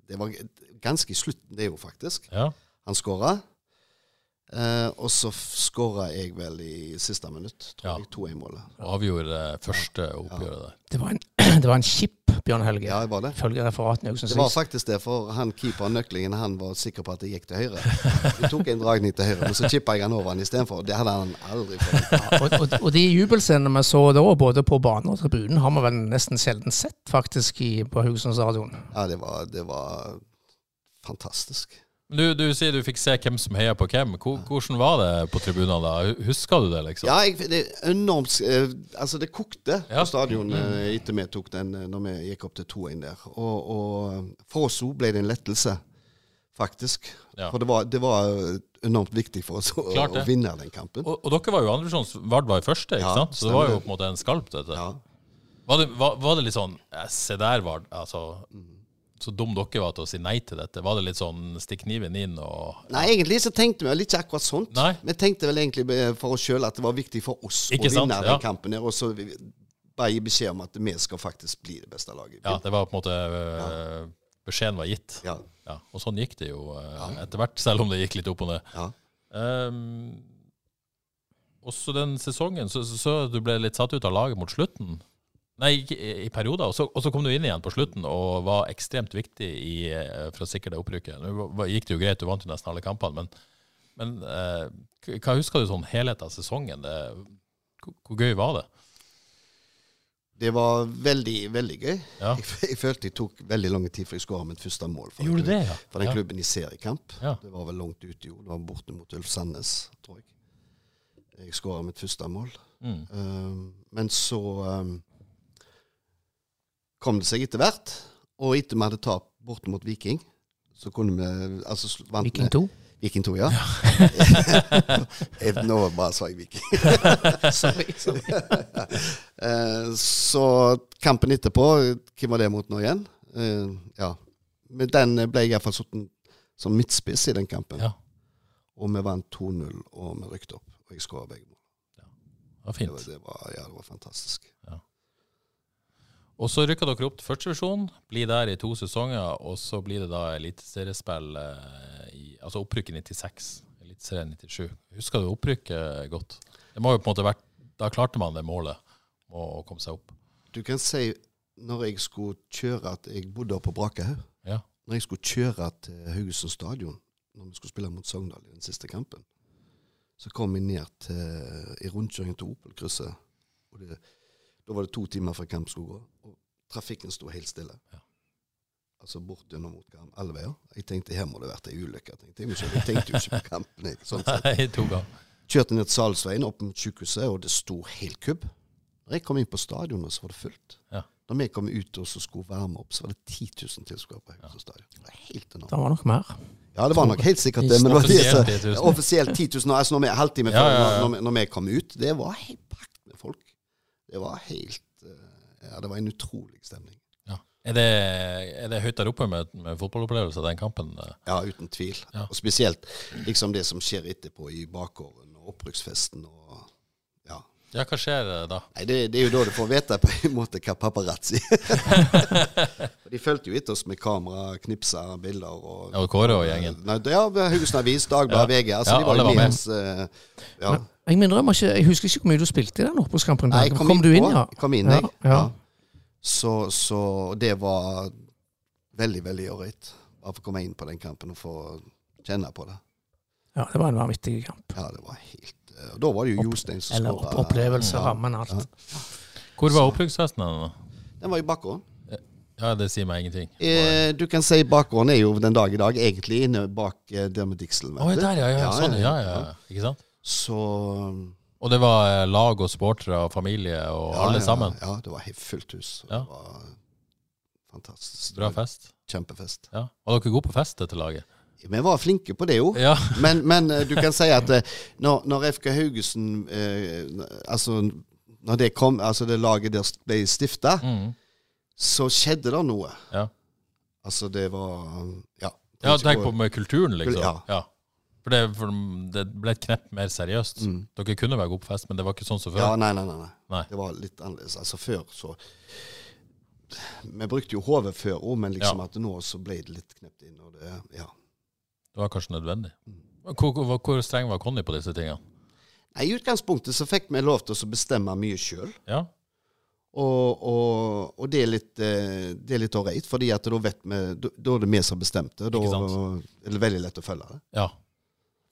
[SPEAKER 3] Det var g- ganske i slutten, det jo, faktisk.
[SPEAKER 1] ja.
[SPEAKER 3] Han skåra. Eh, og så skåra jeg vel i siste minutt, tror
[SPEAKER 1] Ja.
[SPEAKER 3] jeg. 2-1-målet.
[SPEAKER 1] Og avgjorde det første oppgjøret der.
[SPEAKER 2] Det var en, det var en kjipp Bjørn Helge,
[SPEAKER 3] Ja, jeg var det.
[SPEAKER 2] ifølge referatene. jeg synes
[SPEAKER 3] Det var
[SPEAKER 2] sist.
[SPEAKER 3] faktisk det, for han keeperen Nøklingen han var sikker på at det gikk til høyre. Vi tok en dragning til høyre, men så chippa jeg han over han istedenfor. Det hadde han aldri fått.
[SPEAKER 2] og, og, og de jubelscenene vi så da, både på banen og tribunen, har vi vel nesten sjelden sett faktisk i, på Haugesund stadion.
[SPEAKER 3] Ja, det var, det var fantastisk.
[SPEAKER 1] Men Du, du sier du fikk se hvem som heier på hvem. Hvor, hvordan var det på tribunene da? Husker du det, liksom?
[SPEAKER 3] Ja, jeg, det er enormt eh, Altså, det kokte
[SPEAKER 1] Ja.
[SPEAKER 3] på stadion eh, etter vi tok den, eh, når vi gikk opp til 2-1 der. Og, og for oss òg ble det en lettelse, faktisk.
[SPEAKER 1] Ja.
[SPEAKER 3] For det var, det var eh, enormt viktig for oss å,
[SPEAKER 1] Klart
[SPEAKER 3] å
[SPEAKER 1] det.
[SPEAKER 3] vinne den kampen.
[SPEAKER 1] Og, og dere var jo andrevisjons Vard var i første, ikke
[SPEAKER 3] Ja,
[SPEAKER 1] sant? Så det var jo
[SPEAKER 3] stemmer.
[SPEAKER 1] på en måte en skalp, dette.
[SPEAKER 3] Ja.
[SPEAKER 1] Var, det, var, var det litt sånn eh, Se der, Vard. Altså,
[SPEAKER 3] Mm.
[SPEAKER 1] så dum dere var til å si nei til dette. Var det litt sånn stikk kniven inn og
[SPEAKER 3] Nei, egentlig så tenkte vi vel ikke akkurat sånt.
[SPEAKER 1] Nei.
[SPEAKER 3] Vi tenkte vel egentlig eh, for oss sjøl at det var viktig for oss
[SPEAKER 1] Ikke
[SPEAKER 3] å
[SPEAKER 1] sant,
[SPEAKER 3] vinne
[SPEAKER 1] ja.
[SPEAKER 3] den kampen. her, Og så vi- bare gi beskjed om at vi skal faktisk bli det beste laget.
[SPEAKER 1] Ja, det var på en måte eh, Beskjeden var gitt.
[SPEAKER 3] Ja.
[SPEAKER 1] Ja, og sånn gikk det jo eh, etter hvert, selv om det gikk litt opp og ned.
[SPEAKER 3] Ja.
[SPEAKER 1] Ehm, også den sesongen så, så, så du ble litt satt ut av laget mot slutten. Nei, ikke i, i perioder. Og så, og så kom du inn igjen på slutten og var ekstremt viktig i, eh, for å sikre deg opprykket. Nå var- gikk det jo greit, du vant jo nesten alle kampene, men, men eh, k- hva husker du sånn helhet av sesongen? Det, hvor, hvor gøy var det?
[SPEAKER 3] Det var veldig, veldig gøy.
[SPEAKER 1] Ja.
[SPEAKER 3] Jeg, jeg følte det tok veldig lang tid før jeg skåra mitt første mål. for en klubb.
[SPEAKER 1] ja?
[SPEAKER 3] For den
[SPEAKER 1] ja.
[SPEAKER 3] klubben i seriekamp.
[SPEAKER 1] Ja.
[SPEAKER 3] Det var vel langt ute, jo. Det var borte mot Ulf Sandnes, tror jeg. Jeg skåra mitt første mål.
[SPEAKER 1] Mm.
[SPEAKER 3] Um, men så um, kom det seg etter hvert. Og etter vi hadde tap borte mot Viking, så kunne vi altså, sl- vant
[SPEAKER 2] Viking
[SPEAKER 3] vi-
[SPEAKER 2] 2.
[SPEAKER 3] Viking 2, ja. Eh, Nå bare sa jeg Viking.
[SPEAKER 2] Sorry. sorry.
[SPEAKER 3] Eh, så kampen etterpå, hvem var det mot nå igjen? Eh, ja. Men den ble jeg iallfall satt som midtspiss i den kampen.
[SPEAKER 1] Ja.
[SPEAKER 3] Og vi vant 2-0, og vi rykket opp. Og jeg skåra begge mål.
[SPEAKER 1] Det var
[SPEAKER 3] Det var,
[SPEAKER 1] fint.
[SPEAKER 3] det, var, ja, det var fantastisk.
[SPEAKER 1] Og så rykka dere opp til første divisjon, blir der i to sesonger, og så blir det da eliteseriespill eh, i Altså opprykket 96, eliteserien 97. Husker du opprykket godt? Det må jo på en måte vært Da klarte man det målet å komme seg opp.
[SPEAKER 3] Du kan si, når jeg skulle kjøre at Jeg bodde oppe på Brakehaug.
[SPEAKER 1] Ja.
[SPEAKER 3] Når jeg skulle kjøre til Haugesund stadion, når vi skulle spille mot Sogndal i den siste kampen, så kom jeg ned til, i rundkjøringen til Opel-krysset. og det- Da var det to timer før kamp skulle gå, og trafikken sto helt stille.
[SPEAKER 1] Ja.
[SPEAKER 3] Altså bort gjennom mot Garm, alle veier. Jeg tenkte her må det ha vært ei ulykke. tenkte Jeg men så- jeg tenkte jo ikke på kampen. jeg, Sånn sett.
[SPEAKER 1] Nei, to ganger.
[SPEAKER 3] Kjørte ned Salsveien opp mot sykehuset, og det sto helt kubb. Når jeg kom inn på stadionet, så var det fullt.
[SPEAKER 1] Ja.
[SPEAKER 3] Når vi kom ut og så skulle varme opp, så var det 10 000 tilskuere på Haugesund stadion. Det var helt enormt.
[SPEAKER 2] Det var nok mer.
[SPEAKER 3] Ja, det var nok helt sikkert det. Men det var det
[SPEAKER 1] Offisielt
[SPEAKER 3] som
[SPEAKER 1] 10 000.
[SPEAKER 3] Offisielt 10 000. Altså når vi, halvtime før
[SPEAKER 1] Ja, ja, ja.
[SPEAKER 3] Når, vi- når vi kom ut. Det var helt pakt med folk. Det var helt eh, Ja, det var en utrolig stemning.
[SPEAKER 1] Ja. Er det, er det høyt der oppe med, med fotballopplevelse, den kampen? eh?
[SPEAKER 3] Ja, uten tvil.
[SPEAKER 1] Ja.
[SPEAKER 3] Og spesielt liksom det som skjer etterpå i bakgården og opprykksfesten og Ja.
[SPEAKER 1] Ja, hva skjer eh, da?
[SPEAKER 3] Nei, det, det er jo da du får vite på en måte hva paparazzi er. Og De fulgte jo etter oss med kamera, knipsa, bilder og
[SPEAKER 1] Ja, og Kåre og gjengen.
[SPEAKER 3] Nei, det- ja, Haugesund Avis, Dagbladet,
[SPEAKER 1] Ja.
[SPEAKER 3] VG. Altså,
[SPEAKER 1] Ja,
[SPEAKER 3] de var,
[SPEAKER 1] alle
[SPEAKER 3] jo med
[SPEAKER 1] var med.
[SPEAKER 3] oss. eh, ja.
[SPEAKER 2] Jeg minner meg ikke, jeg husker ikke hvor mye du spilte i den oppholdskampen.
[SPEAKER 3] Nei, jeg kom, inn, på,
[SPEAKER 2] ja?
[SPEAKER 3] jeg kom inn,
[SPEAKER 2] ja,
[SPEAKER 3] jeg. Ja.
[SPEAKER 2] ja.
[SPEAKER 3] Så, så det var veldig, veldig ålreit. Bare få komme inn på den kampen og få kjenne på det.
[SPEAKER 2] ja, det var en vanvittig kamp.
[SPEAKER 3] Ja, det var helt eh, Og da var det jo
[SPEAKER 2] Opp-
[SPEAKER 3] Jostein som
[SPEAKER 2] Eller
[SPEAKER 3] skåra.
[SPEAKER 2] opp opplevelse, rammen, alt.
[SPEAKER 1] Hvor var opprykksfesten? da?
[SPEAKER 3] Den var i bakgården.
[SPEAKER 1] Ja, det sier meg ingenting.
[SPEAKER 3] Eh, du kan si bakgården er jo den dag i dag egentlig inne bak eh, der med Dixel. vet
[SPEAKER 1] Å,
[SPEAKER 3] du.
[SPEAKER 1] der, ja, ja. Sånn, ja, ja. Ikke sant?
[SPEAKER 3] Så
[SPEAKER 1] Og det var eh, lag og sportere og familie og
[SPEAKER 3] ja, ja,
[SPEAKER 1] alle sammen.
[SPEAKER 3] Ja, det var helt fullt hus. og
[SPEAKER 1] Ja.
[SPEAKER 3] Det var fantastisk.
[SPEAKER 1] Bra fest.
[SPEAKER 3] Kjempefest.
[SPEAKER 1] Ja. Var dere gode på fest, dette laget?
[SPEAKER 3] Vi var flinke på det, jo.
[SPEAKER 1] Ja.
[SPEAKER 3] Men, men eh, du kan si at eh, når, når FK Haugesund eh, Altså, når det kom Altså det laget der ble stifta,
[SPEAKER 1] Mm.
[SPEAKER 3] så skjedde det noe.
[SPEAKER 1] Ja.
[SPEAKER 3] Altså, det var Ja.
[SPEAKER 1] Ja, tenk på med kulturen, liksom.
[SPEAKER 3] Ja.
[SPEAKER 1] Ja. For, det, for det ble et knepp mer seriøst.
[SPEAKER 3] Mm.
[SPEAKER 1] Dere kunne være god på fest, men det var ikke sånn som
[SPEAKER 3] Ja,
[SPEAKER 1] før.
[SPEAKER 3] nei, nei, nei, nei.
[SPEAKER 1] Nei.
[SPEAKER 3] Det var litt annerledes. Altså, før så Vi brukte jo hodet før òg, men liksom
[SPEAKER 1] Ja.
[SPEAKER 3] at nå så ble det litt knept inn. Og det, ja.
[SPEAKER 1] Det var kanskje nødvendig. Hvor, hvor, hvor streng var Conny på disse tingene?
[SPEAKER 3] Nei, I utgangspunktet så fikk vi lov til å bestemme mye sjøl.
[SPEAKER 1] Ja,
[SPEAKER 3] Og, og, og det er litt eh, Det er litt ålreit, for da vet vi Da da er det vi som bestemte. Da
[SPEAKER 1] Ikke sant?
[SPEAKER 3] er det veldig lett å følge det.
[SPEAKER 1] ja.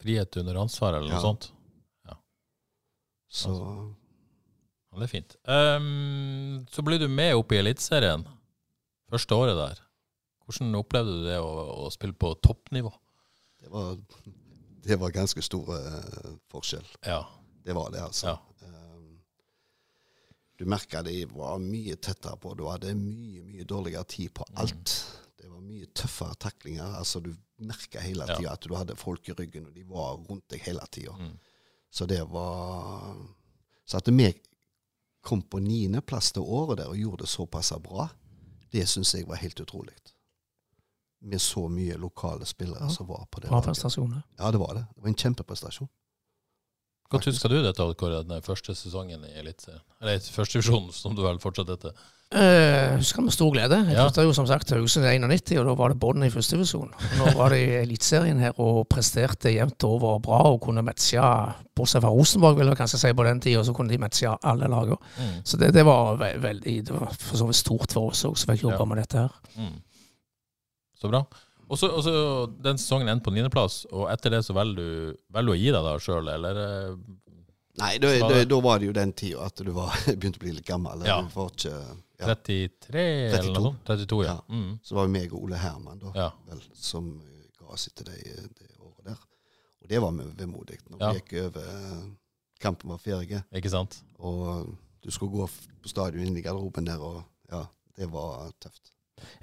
[SPEAKER 1] Frihet under ansvar, eller noe
[SPEAKER 3] Ja.
[SPEAKER 1] sånt.
[SPEAKER 3] Så
[SPEAKER 1] Altså. Ja, det er fint. Ehm, så ble du med opp i Eliteserien første året der. Hvordan opplevde du det å, å spille på toppnivå?
[SPEAKER 3] det var, det var ganske stor eh, forskjell.
[SPEAKER 1] Ja.
[SPEAKER 3] Det var det, altså.
[SPEAKER 1] ja.
[SPEAKER 3] Um, Du merka de var mye tettere på. Du hadde mye mye dårligere tid på alt. Det var mye tøffere taklinger. altså Du merka hele
[SPEAKER 1] Ja.
[SPEAKER 3] tida at du hadde folk i ryggen, og de var rundt deg hele tida.
[SPEAKER 1] Mm.
[SPEAKER 3] Så det var Så at vi kom på niendeplass det året der og gjorde det såpass bra, det syns jeg var helt utrolig. Med så mye lokale spillere
[SPEAKER 2] Ja.
[SPEAKER 3] som var på det.
[SPEAKER 2] Bra
[SPEAKER 3] laget.
[SPEAKER 2] prestasjoner.
[SPEAKER 3] Ja, det var det. Det var en kjempeprestasjon.
[SPEAKER 1] Godt husker du dette, Odd Kåre, den første sesongen i Eliteserien? Eller førstevisjonen, som du vel fortsatt heter.
[SPEAKER 2] Eh, husker han med stor glede. Jeg
[SPEAKER 1] Ja.
[SPEAKER 2] flytta jo som sagt til Haugesund i 91, og da var det bånn i første divisjon. Og Nå var det i Eliteserien her og presterte jevnt over bra og kunne matche Bortsett fra Rosenborg, vil jeg kanskje si, på den tida, så kunne de matche alle lagene.
[SPEAKER 3] Mm.
[SPEAKER 2] Så det, det var ve veldig Det var for så vidt stort for oss òg, som fikk jobba
[SPEAKER 1] Ja.
[SPEAKER 2] med dette her.
[SPEAKER 1] Mm. Så bra. Og så, og så Den sesongen endte på niendeplass, og etter det så velger du, velger du å gi deg da sjøl, eller? eh,
[SPEAKER 3] Nei, da,
[SPEAKER 1] Var
[SPEAKER 3] da,
[SPEAKER 1] det-
[SPEAKER 3] da var det jo den tida at du var, begynte å bli litt gammel.
[SPEAKER 1] Ja.
[SPEAKER 3] Du var ikke, ja.
[SPEAKER 1] 33, eller noe sånt? 32, ja.
[SPEAKER 3] Ja.
[SPEAKER 1] Mm.
[SPEAKER 3] Så var det meg og Ole Herman da,
[SPEAKER 1] ja.
[SPEAKER 3] vel, som eh, ga oss etter det, det året der. Og det var med- vemodig. Når
[SPEAKER 1] Ja.
[SPEAKER 3] vi gikk over eh, kampen var ferdig,
[SPEAKER 1] Ikke sant?
[SPEAKER 3] og du skulle gå f- på stadion inn i garderoben der, og ja, det var tøft.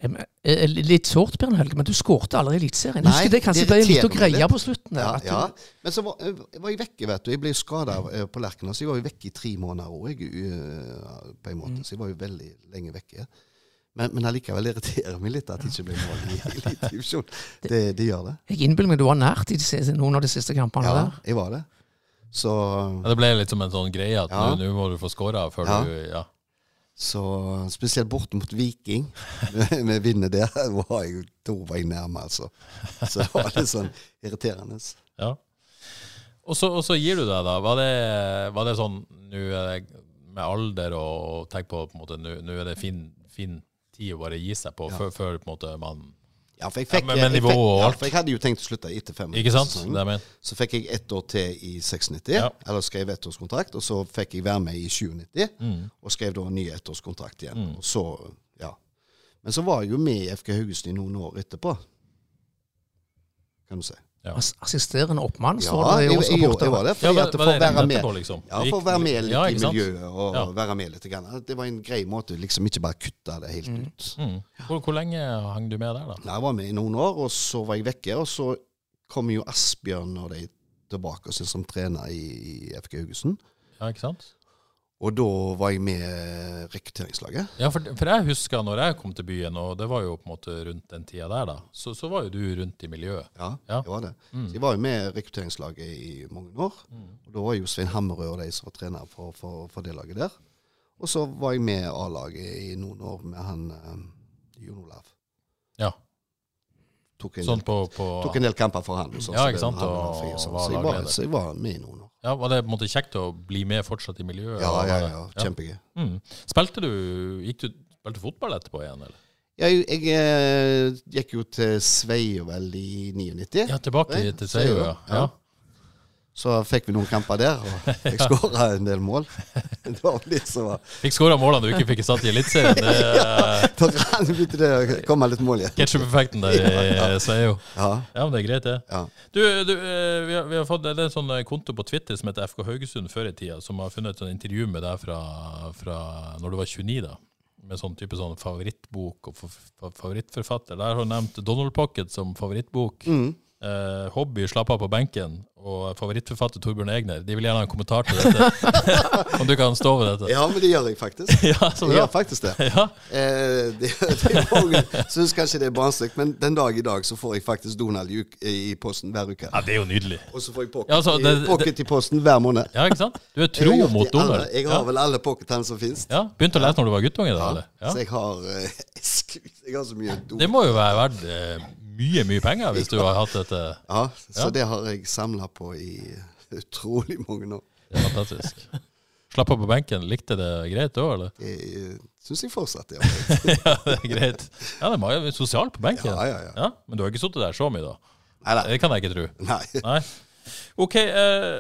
[SPEAKER 2] Eh, men, eh, Litt sårt, Bjørn Helge, men du skårte aldri i Eliteserien.
[SPEAKER 3] Nei,
[SPEAKER 2] Husker det kanskje
[SPEAKER 3] det
[SPEAKER 2] ble litt
[SPEAKER 3] irriterer
[SPEAKER 2] å
[SPEAKER 3] meg
[SPEAKER 2] greie
[SPEAKER 3] litt.
[SPEAKER 2] på slutten der.
[SPEAKER 3] Ja,
[SPEAKER 2] at du-
[SPEAKER 3] ja. Men så var, eh, var jeg vekke, vet du. Jeg ble skada på Lerkena, så jeg var jo vekke i tre måneder òg, på en
[SPEAKER 2] Mm.
[SPEAKER 3] måte. Så jeg var jo veldig lenge vekke. Men, men allikevel irriterer det meg litt at det ikke ble mål i elitedivisjon. Det, det gjør det.
[SPEAKER 2] Jeg innbiller meg du var nært i de, siste- noen av de siste kampene
[SPEAKER 3] Ja,
[SPEAKER 2] der.
[SPEAKER 3] jeg var det. Så,
[SPEAKER 1] Ja, det ble litt som en sånn greie at
[SPEAKER 3] Ja.
[SPEAKER 1] nå- nå må du få scora før
[SPEAKER 3] Ja.
[SPEAKER 1] du Ja.
[SPEAKER 3] så spesielt borte mot Viking, med med vinner der, var jeg, da var jeg nærme, altså. Så det var litt sånn irriterende.
[SPEAKER 1] ja. Og, så, og så gir du deg, da. Var det, var det sånn nå er det med alder og, og tenk på på en måte nå nå er det fin, fin tid å bare gi seg på
[SPEAKER 3] Ja.
[SPEAKER 1] før, før på en måte man
[SPEAKER 3] Ja, for jeg
[SPEAKER 1] Ja,
[SPEAKER 3] fikk, eh,
[SPEAKER 1] men- men
[SPEAKER 3] jeg
[SPEAKER 1] nivå
[SPEAKER 3] fikk,
[SPEAKER 1] og
[SPEAKER 3] ja,
[SPEAKER 1] alt.
[SPEAKER 3] for jeg hadde jo tenkt å slutte etter fem
[SPEAKER 1] Ikke sant? Det
[SPEAKER 3] sesongen.
[SPEAKER 1] er det jeg mener.
[SPEAKER 3] Så fikk jeg ett år til i 96,
[SPEAKER 1] Ja.
[SPEAKER 3] eller skrev ettårskontrakt, og så fikk jeg være med i 97,
[SPEAKER 1] Mm.
[SPEAKER 3] og skrev da en ny ettårskontrakt igjen. Og så, ja. Men så var jeg jo med i FK Haugesund i noen år etterpå, kan du si.
[SPEAKER 1] Ja.
[SPEAKER 2] Ass- Assisterende oppmann,
[SPEAKER 3] Ja,
[SPEAKER 2] står det i
[SPEAKER 3] jeg, jeg, jeg,
[SPEAKER 2] årsrapporten.
[SPEAKER 3] var det,
[SPEAKER 1] Ja,
[SPEAKER 3] fordi
[SPEAKER 1] var-
[SPEAKER 3] at
[SPEAKER 1] var
[SPEAKER 3] for å
[SPEAKER 1] det rett
[SPEAKER 3] være med
[SPEAKER 1] etterpå, liksom?
[SPEAKER 3] ja,
[SPEAKER 1] Gikk-
[SPEAKER 3] for å være med litt
[SPEAKER 1] Ja,
[SPEAKER 3] i
[SPEAKER 1] ikke sant?
[SPEAKER 3] miljøet og
[SPEAKER 1] Ja.
[SPEAKER 3] være med litt. Grann. Det var en grei måte, liksom ikke bare kutte det helt ut.
[SPEAKER 1] Mm. Hvor, hvor lenge hang du med der, da?
[SPEAKER 3] Nei, Jeg var med i noen år, og så var jeg vekke. Og så kom jo Asbjørn og de tilbake og sin som trener i, i FK Haugesund.
[SPEAKER 1] Ja, ikke sant?
[SPEAKER 3] Og da var jeg med rekrutteringslaget.
[SPEAKER 1] Ja, for, for jeg husker når jeg kom til byen, og det var jo på en måte rundt den tida der, da, så, så var jo du rundt i miljøet.
[SPEAKER 3] Ja,
[SPEAKER 1] Ja. Mm.
[SPEAKER 3] det var det. Så jeg var jo med rekrutteringslaget i mange år. Og da var jo Svein Hammerød og de som var trenere for, for, for det laget der. Og så var jeg med A-laget i noen år med han eh, Jon Olav.
[SPEAKER 1] Ja,
[SPEAKER 3] Tok en,
[SPEAKER 1] sånn på, på
[SPEAKER 3] tok en del kamper for han. og sånn,
[SPEAKER 1] Ja,
[SPEAKER 3] så
[SPEAKER 1] ikke
[SPEAKER 3] det-
[SPEAKER 1] sant,
[SPEAKER 3] han var
[SPEAKER 1] og
[SPEAKER 3] fri og sånn.
[SPEAKER 1] var
[SPEAKER 3] så, jeg var,
[SPEAKER 1] lagleder.
[SPEAKER 3] så jeg var med i noen år.
[SPEAKER 1] ja, Var det på en måte kjekt å bli med fortsatt i miljøet?
[SPEAKER 3] Ja,
[SPEAKER 1] og
[SPEAKER 3] ja,
[SPEAKER 1] var det-
[SPEAKER 3] ja. Kjempegøy.
[SPEAKER 1] Mm. Spilte du Gikk du spilte fotball etterpå igjen, eller?
[SPEAKER 3] Jeg, jeg eh, gikk jo til Sveio vel i 99.
[SPEAKER 1] Ja, tilbake
[SPEAKER 3] Nei,
[SPEAKER 1] til Sveio, ja. ja.
[SPEAKER 3] ja. Så fikk vi noen kamper der, og jeg skåra en del mål. Det var litt som var
[SPEAKER 1] Fikk skåra målene du ikke fikk satt i Eliteserien. Det-
[SPEAKER 3] Da rann- begynte det å komme litt mål igjen.
[SPEAKER 1] Ketchup-effekten der eh, i Sveio.
[SPEAKER 3] Ja,
[SPEAKER 1] Ja, men det er greit, det.
[SPEAKER 3] ja.
[SPEAKER 1] Du, du eh, vi, har, vi har fått det er en sånn eh, konto på Twitter som heter FK Haugesund før i tida, som har funnet et sånn intervju med deg fra, fra når du var 29, da. Med sånn type sånn favorittbok og fa- fa- favorittforfatter. Der har du nevnt Donald Pocket som favorittbok.
[SPEAKER 3] Mm.
[SPEAKER 1] eh, Hobby slapp av på benken, og favorittforfatter Torbjørn Egner. De vil gjerne ha en kommentar til dette. Om du kan stå ved dette.
[SPEAKER 3] Ja, men det gjør jeg faktisk.
[SPEAKER 1] Ja, så
[SPEAKER 3] Jeg
[SPEAKER 1] bra.
[SPEAKER 3] gjør faktisk det.
[SPEAKER 1] Ja.
[SPEAKER 3] Eh, det, det mange syns kanskje det er barnslig, men den dag i dag så får jeg faktisk Donald i, uk- i posten hver uke.
[SPEAKER 1] ja, det er jo nydelig.
[SPEAKER 3] Og så får jeg pocket,
[SPEAKER 1] Ja, altså, det-
[SPEAKER 3] i- pocket i posten hver måned.
[SPEAKER 1] Ja, ikke sant? Du er
[SPEAKER 3] Jeg har
[SPEAKER 1] tro
[SPEAKER 3] gjort
[SPEAKER 1] mot
[SPEAKER 3] de alle-
[SPEAKER 1] Donald.
[SPEAKER 3] Jeg har vel alle pocketene som fins.
[SPEAKER 1] Ja. Begynte å lese når du var guttunge? da, eller?
[SPEAKER 3] Så
[SPEAKER 1] Ja.
[SPEAKER 3] jeg har eh, Jeg har så mye dop.
[SPEAKER 1] Det må jo være verdt eh, mye, mye penger hvis du har hatt dette.
[SPEAKER 3] Ja, så
[SPEAKER 1] Ja.
[SPEAKER 3] det har jeg samla på i utrolig mange år.
[SPEAKER 1] Det er fantastisk. Slapp av på benken. Likte det greit da, eller?
[SPEAKER 3] Det syns jeg fortsatt er ålreit.
[SPEAKER 1] ja, det er greit. Ja, det må jo være sosialt på benken.
[SPEAKER 3] Ja, ja, ja.
[SPEAKER 1] men du har ikke sittet der så mye, da.
[SPEAKER 3] Neida.
[SPEAKER 1] Det kan jeg ikke tro.
[SPEAKER 3] Nei.
[SPEAKER 1] Nei. OK, eh,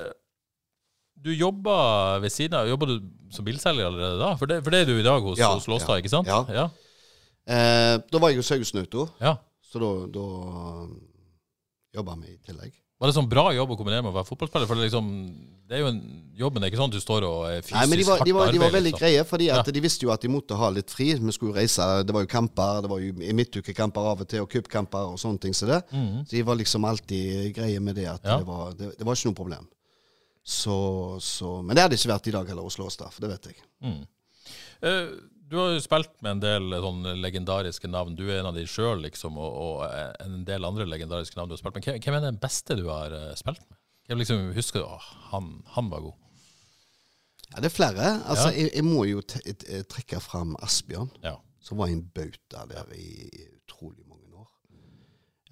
[SPEAKER 1] du jobba ved siden av Jobba du som bilselger allerede da? For det, for det er du i dag hos,
[SPEAKER 3] Ja,
[SPEAKER 1] hos Låstad,
[SPEAKER 3] ja,
[SPEAKER 1] ikke sant?
[SPEAKER 3] ja.
[SPEAKER 1] ja.
[SPEAKER 3] Eh, da var jeg hos Haugesund Auto,
[SPEAKER 1] Ja.
[SPEAKER 3] så da, da jobba vi i tillegg.
[SPEAKER 1] Var det sånn bra jobb å kombinere med å være fotballspiller? For det, er liksom, det er jo en jobb, men det er ikke sånn at du står og er fysisk
[SPEAKER 3] Nei, men de var, de var,
[SPEAKER 1] hardt
[SPEAKER 3] de var
[SPEAKER 1] arbeid,
[SPEAKER 3] veldig
[SPEAKER 1] liksom.
[SPEAKER 3] greie, fordi at
[SPEAKER 1] Ja.
[SPEAKER 3] de visste jo at de måtte ha litt fri. Vi skulle jo reise, det var jo kamper, det var jo i midtukekamper av og til, og cupkamper og sånne ting som det. Så de var liksom alltid greie med det, at
[SPEAKER 1] Mhm. Ja.
[SPEAKER 3] det, var, det, det var ikke noe problem. Så, så, men det hadde ikke vært i dag heller hos Låstad, for det vet jeg.
[SPEAKER 1] Eh, Du har jo spilt med en del sånn legendariske navn. Du er en av de sjøl, liksom, og, og en del andre legendariske navn du har spilt med. Hvem- Hvem er den beste du har eh, spilt med? Hvem liksom husker du Åh, han, han var god.
[SPEAKER 3] Ja, det er flere. Altså,
[SPEAKER 1] Ja.
[SPEAKER 3] jeg, jeg må jo t t trekke fram Asbjørn.
[SPEAKER 1] Ja.
[SPEAKER 3] som var en bauta der i utrolig mange år.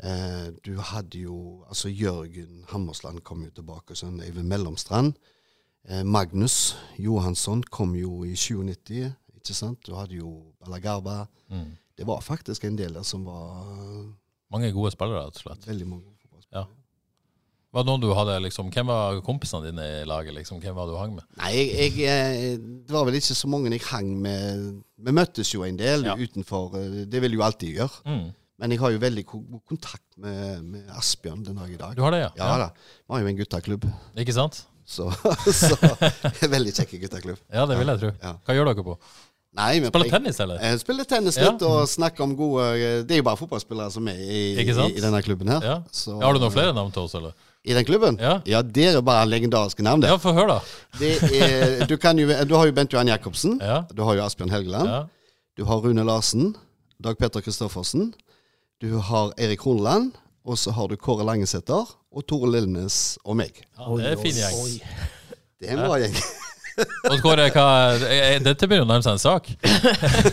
[SPEAKER 3] Eh, du hadde jo Altså, Jørgen Hammersland kom jo tilbake, og sånn Eivind Mellomstrand. Eh, Magnus Johansson kom jo i 97, ikke sant? Du hadde jo Balagarba. Det var faktisk en del der som var eh,
[SPEAKER 1] Mange gode spillere, rett og slett.
[SPEAKER 3] veldig mange gode fotballspillere.
[SPEAKER 1] Ja. Var det noen du hadde, liksom, hvem var kompisene dine i laget? liksom? Hvem var det du hang med?
[SPEAKER 3] Nei, jeg, jeg, eh, det var vel ikke så mange jeg hang med. Vi møttes jo en del
[SPEAKER 1] Ja.
[SPEAKER 3] utenfor. eh, Det vil jeg jo alltid gjøre. Men jeg har jo veldig ko- god kontakt med, med Asbjørn den dag i dag.
[SPEAKER 1] Du har det, ja?
[SPEAKER 3] Ja da. Vi har jo en guttaklubb,
[SPEAKER 1] Ikke sant?
[SPEAKER 3] så, så Veldig kjekk guttaklubb.
[SPEAKER 1] Ja, det vil jeg tro.
[SPEAKER 3] Ja.
[SPEAKER 1] Hva gjør dere på?
[SPEAKER 3] Nei, vi
[SPEAKER 1] Spiller
[SPEAKER 3] pleier-
[SPEAKER 1] tennis, eller?
[SPEAKER 3] Eh, Spiller tennis
[SPEAKER 1] Ja.
[SPEAKER 3] litt og snakker om gode eh, Det er jo bare fotballspillere som er i, i,
[SPEAKER 1] Ikke sant?
[SPEAKER 3] i denne klubben her.
[SPEAKER 1] Ja.
[SPEAKER 3] Så-
[SPEAKER 1] Har du noen flere navn til oss, eller?
[SPEAKER 3] I den klubben?
[SPEAKER 1] Ja.
[SPEAKER 3] det er bare legendariske navn, det.
[SPEAKER 1] Ja, få høre, da.
[SPEAKER 3] det er, du, kan jo, du har jo Bent Johan Jacobsen.
[SPEAKER 1] Ja.
[SPEAKER 3] Du har jo Asbjørn Helgeland.
[SPEAKER 1] Ja.
[SPEAKER 3] Du har Rune Larsen, Dag Petter Kristoffersen, du har Erik Horneland, og så har du Kåre Langesæter og Tore Lillenes og meg.
[SPEAKER 1] Ja, det er en fin gjeng.
[SPEAKER 3] Det er en bra gjeng.
[SPEAKER 1] Odd Kåre, hva, eh, dette begynner å nærme seg en sak.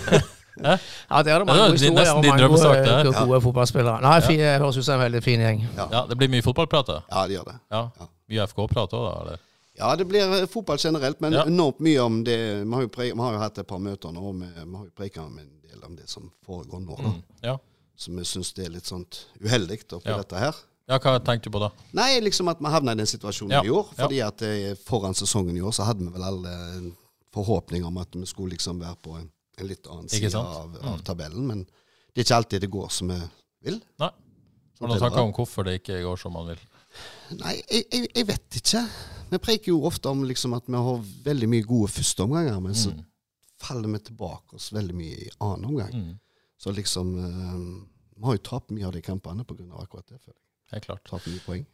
[SPEAKER 2] Ja, det
[SPEAKER 1] Ja,
[SPEAKER 2] er det
[SPEAKER 1] det
[SPEAKER 2] mange
[SPEAKER 1] er
[SPEAKER 2] historier
[SPEAKER 1] nesten
[SPEAKER 2] om
[SPEAKER 1] din
[SPEAKER 2] mange gode,
[SPEAKER 1] drømmesak, det her.
[SPEAKER 2] gode, gode fotballspillere. Nei, fi- det høres ut som en veldig fin gjeng.
[SPEAKER 1] Ja, Det blir mye fotballprat, da?
[SPEAKER 3] Ja, det gjør det.
[SPEAKER 1] Ja. Mye FK-prat òg, da? eller?
[SPEAKER 3] Ja, det blir eh, fotball generelt, men
[SPEAKER 1] Ja.
[SPEAKER 3] enormt mye om det. Vi har jo, pre vi har jo hatt et par møter nå, og vi, vi har jo preket om en del om det som foregår nå. da.
[SPEAKER 1] Ja.
[SPEAKER 3] Så vi syns det er litt sånt uheldig oppi
[SPEAKER 1] Mm. Ja.
[SPEAKER 3] dette her.
[SPEAKER 1] ja, hva tenkte du på da?
[SPEAKER 3] Nei, liksom at vi havna i den situasjonen
[SPEAKER 1] Ja,
[SPEAKER 3] i år.
[SPEAKER 1] ja.
[SPEAKER 3] Fordi at eh, foran sesongen i år så hadde vi vel alle en forhåpning om at vi skulle liksom være på en, en litt annen
[SPEAKER 1] Ikke
[SPEAKER 3] side
[SPEAKER 1] sant? Mm.
[SPEAKER 3] av, av tabellen. Men det er ikke alltid det går som vi vil.
[SPEAKER 1] Nei. Har du noen tanker om hvorfor Sånn det ikke går som man vil?
[SPEAKER 3] Nei, jeg, jeg, jeg vet ikke. Vi preker jo ofte om liksom at vi har veldig mye gode førsteomganger, men så faller vi tilbake oss veldig mye i annen omgang. Så liksom eh, Vi har jo tapt mye av de kampene pga. akkurat det. føler jeg.
[SPEAKER 1] Helt klart.
[SPEAKER 3] Tapt mye poeng.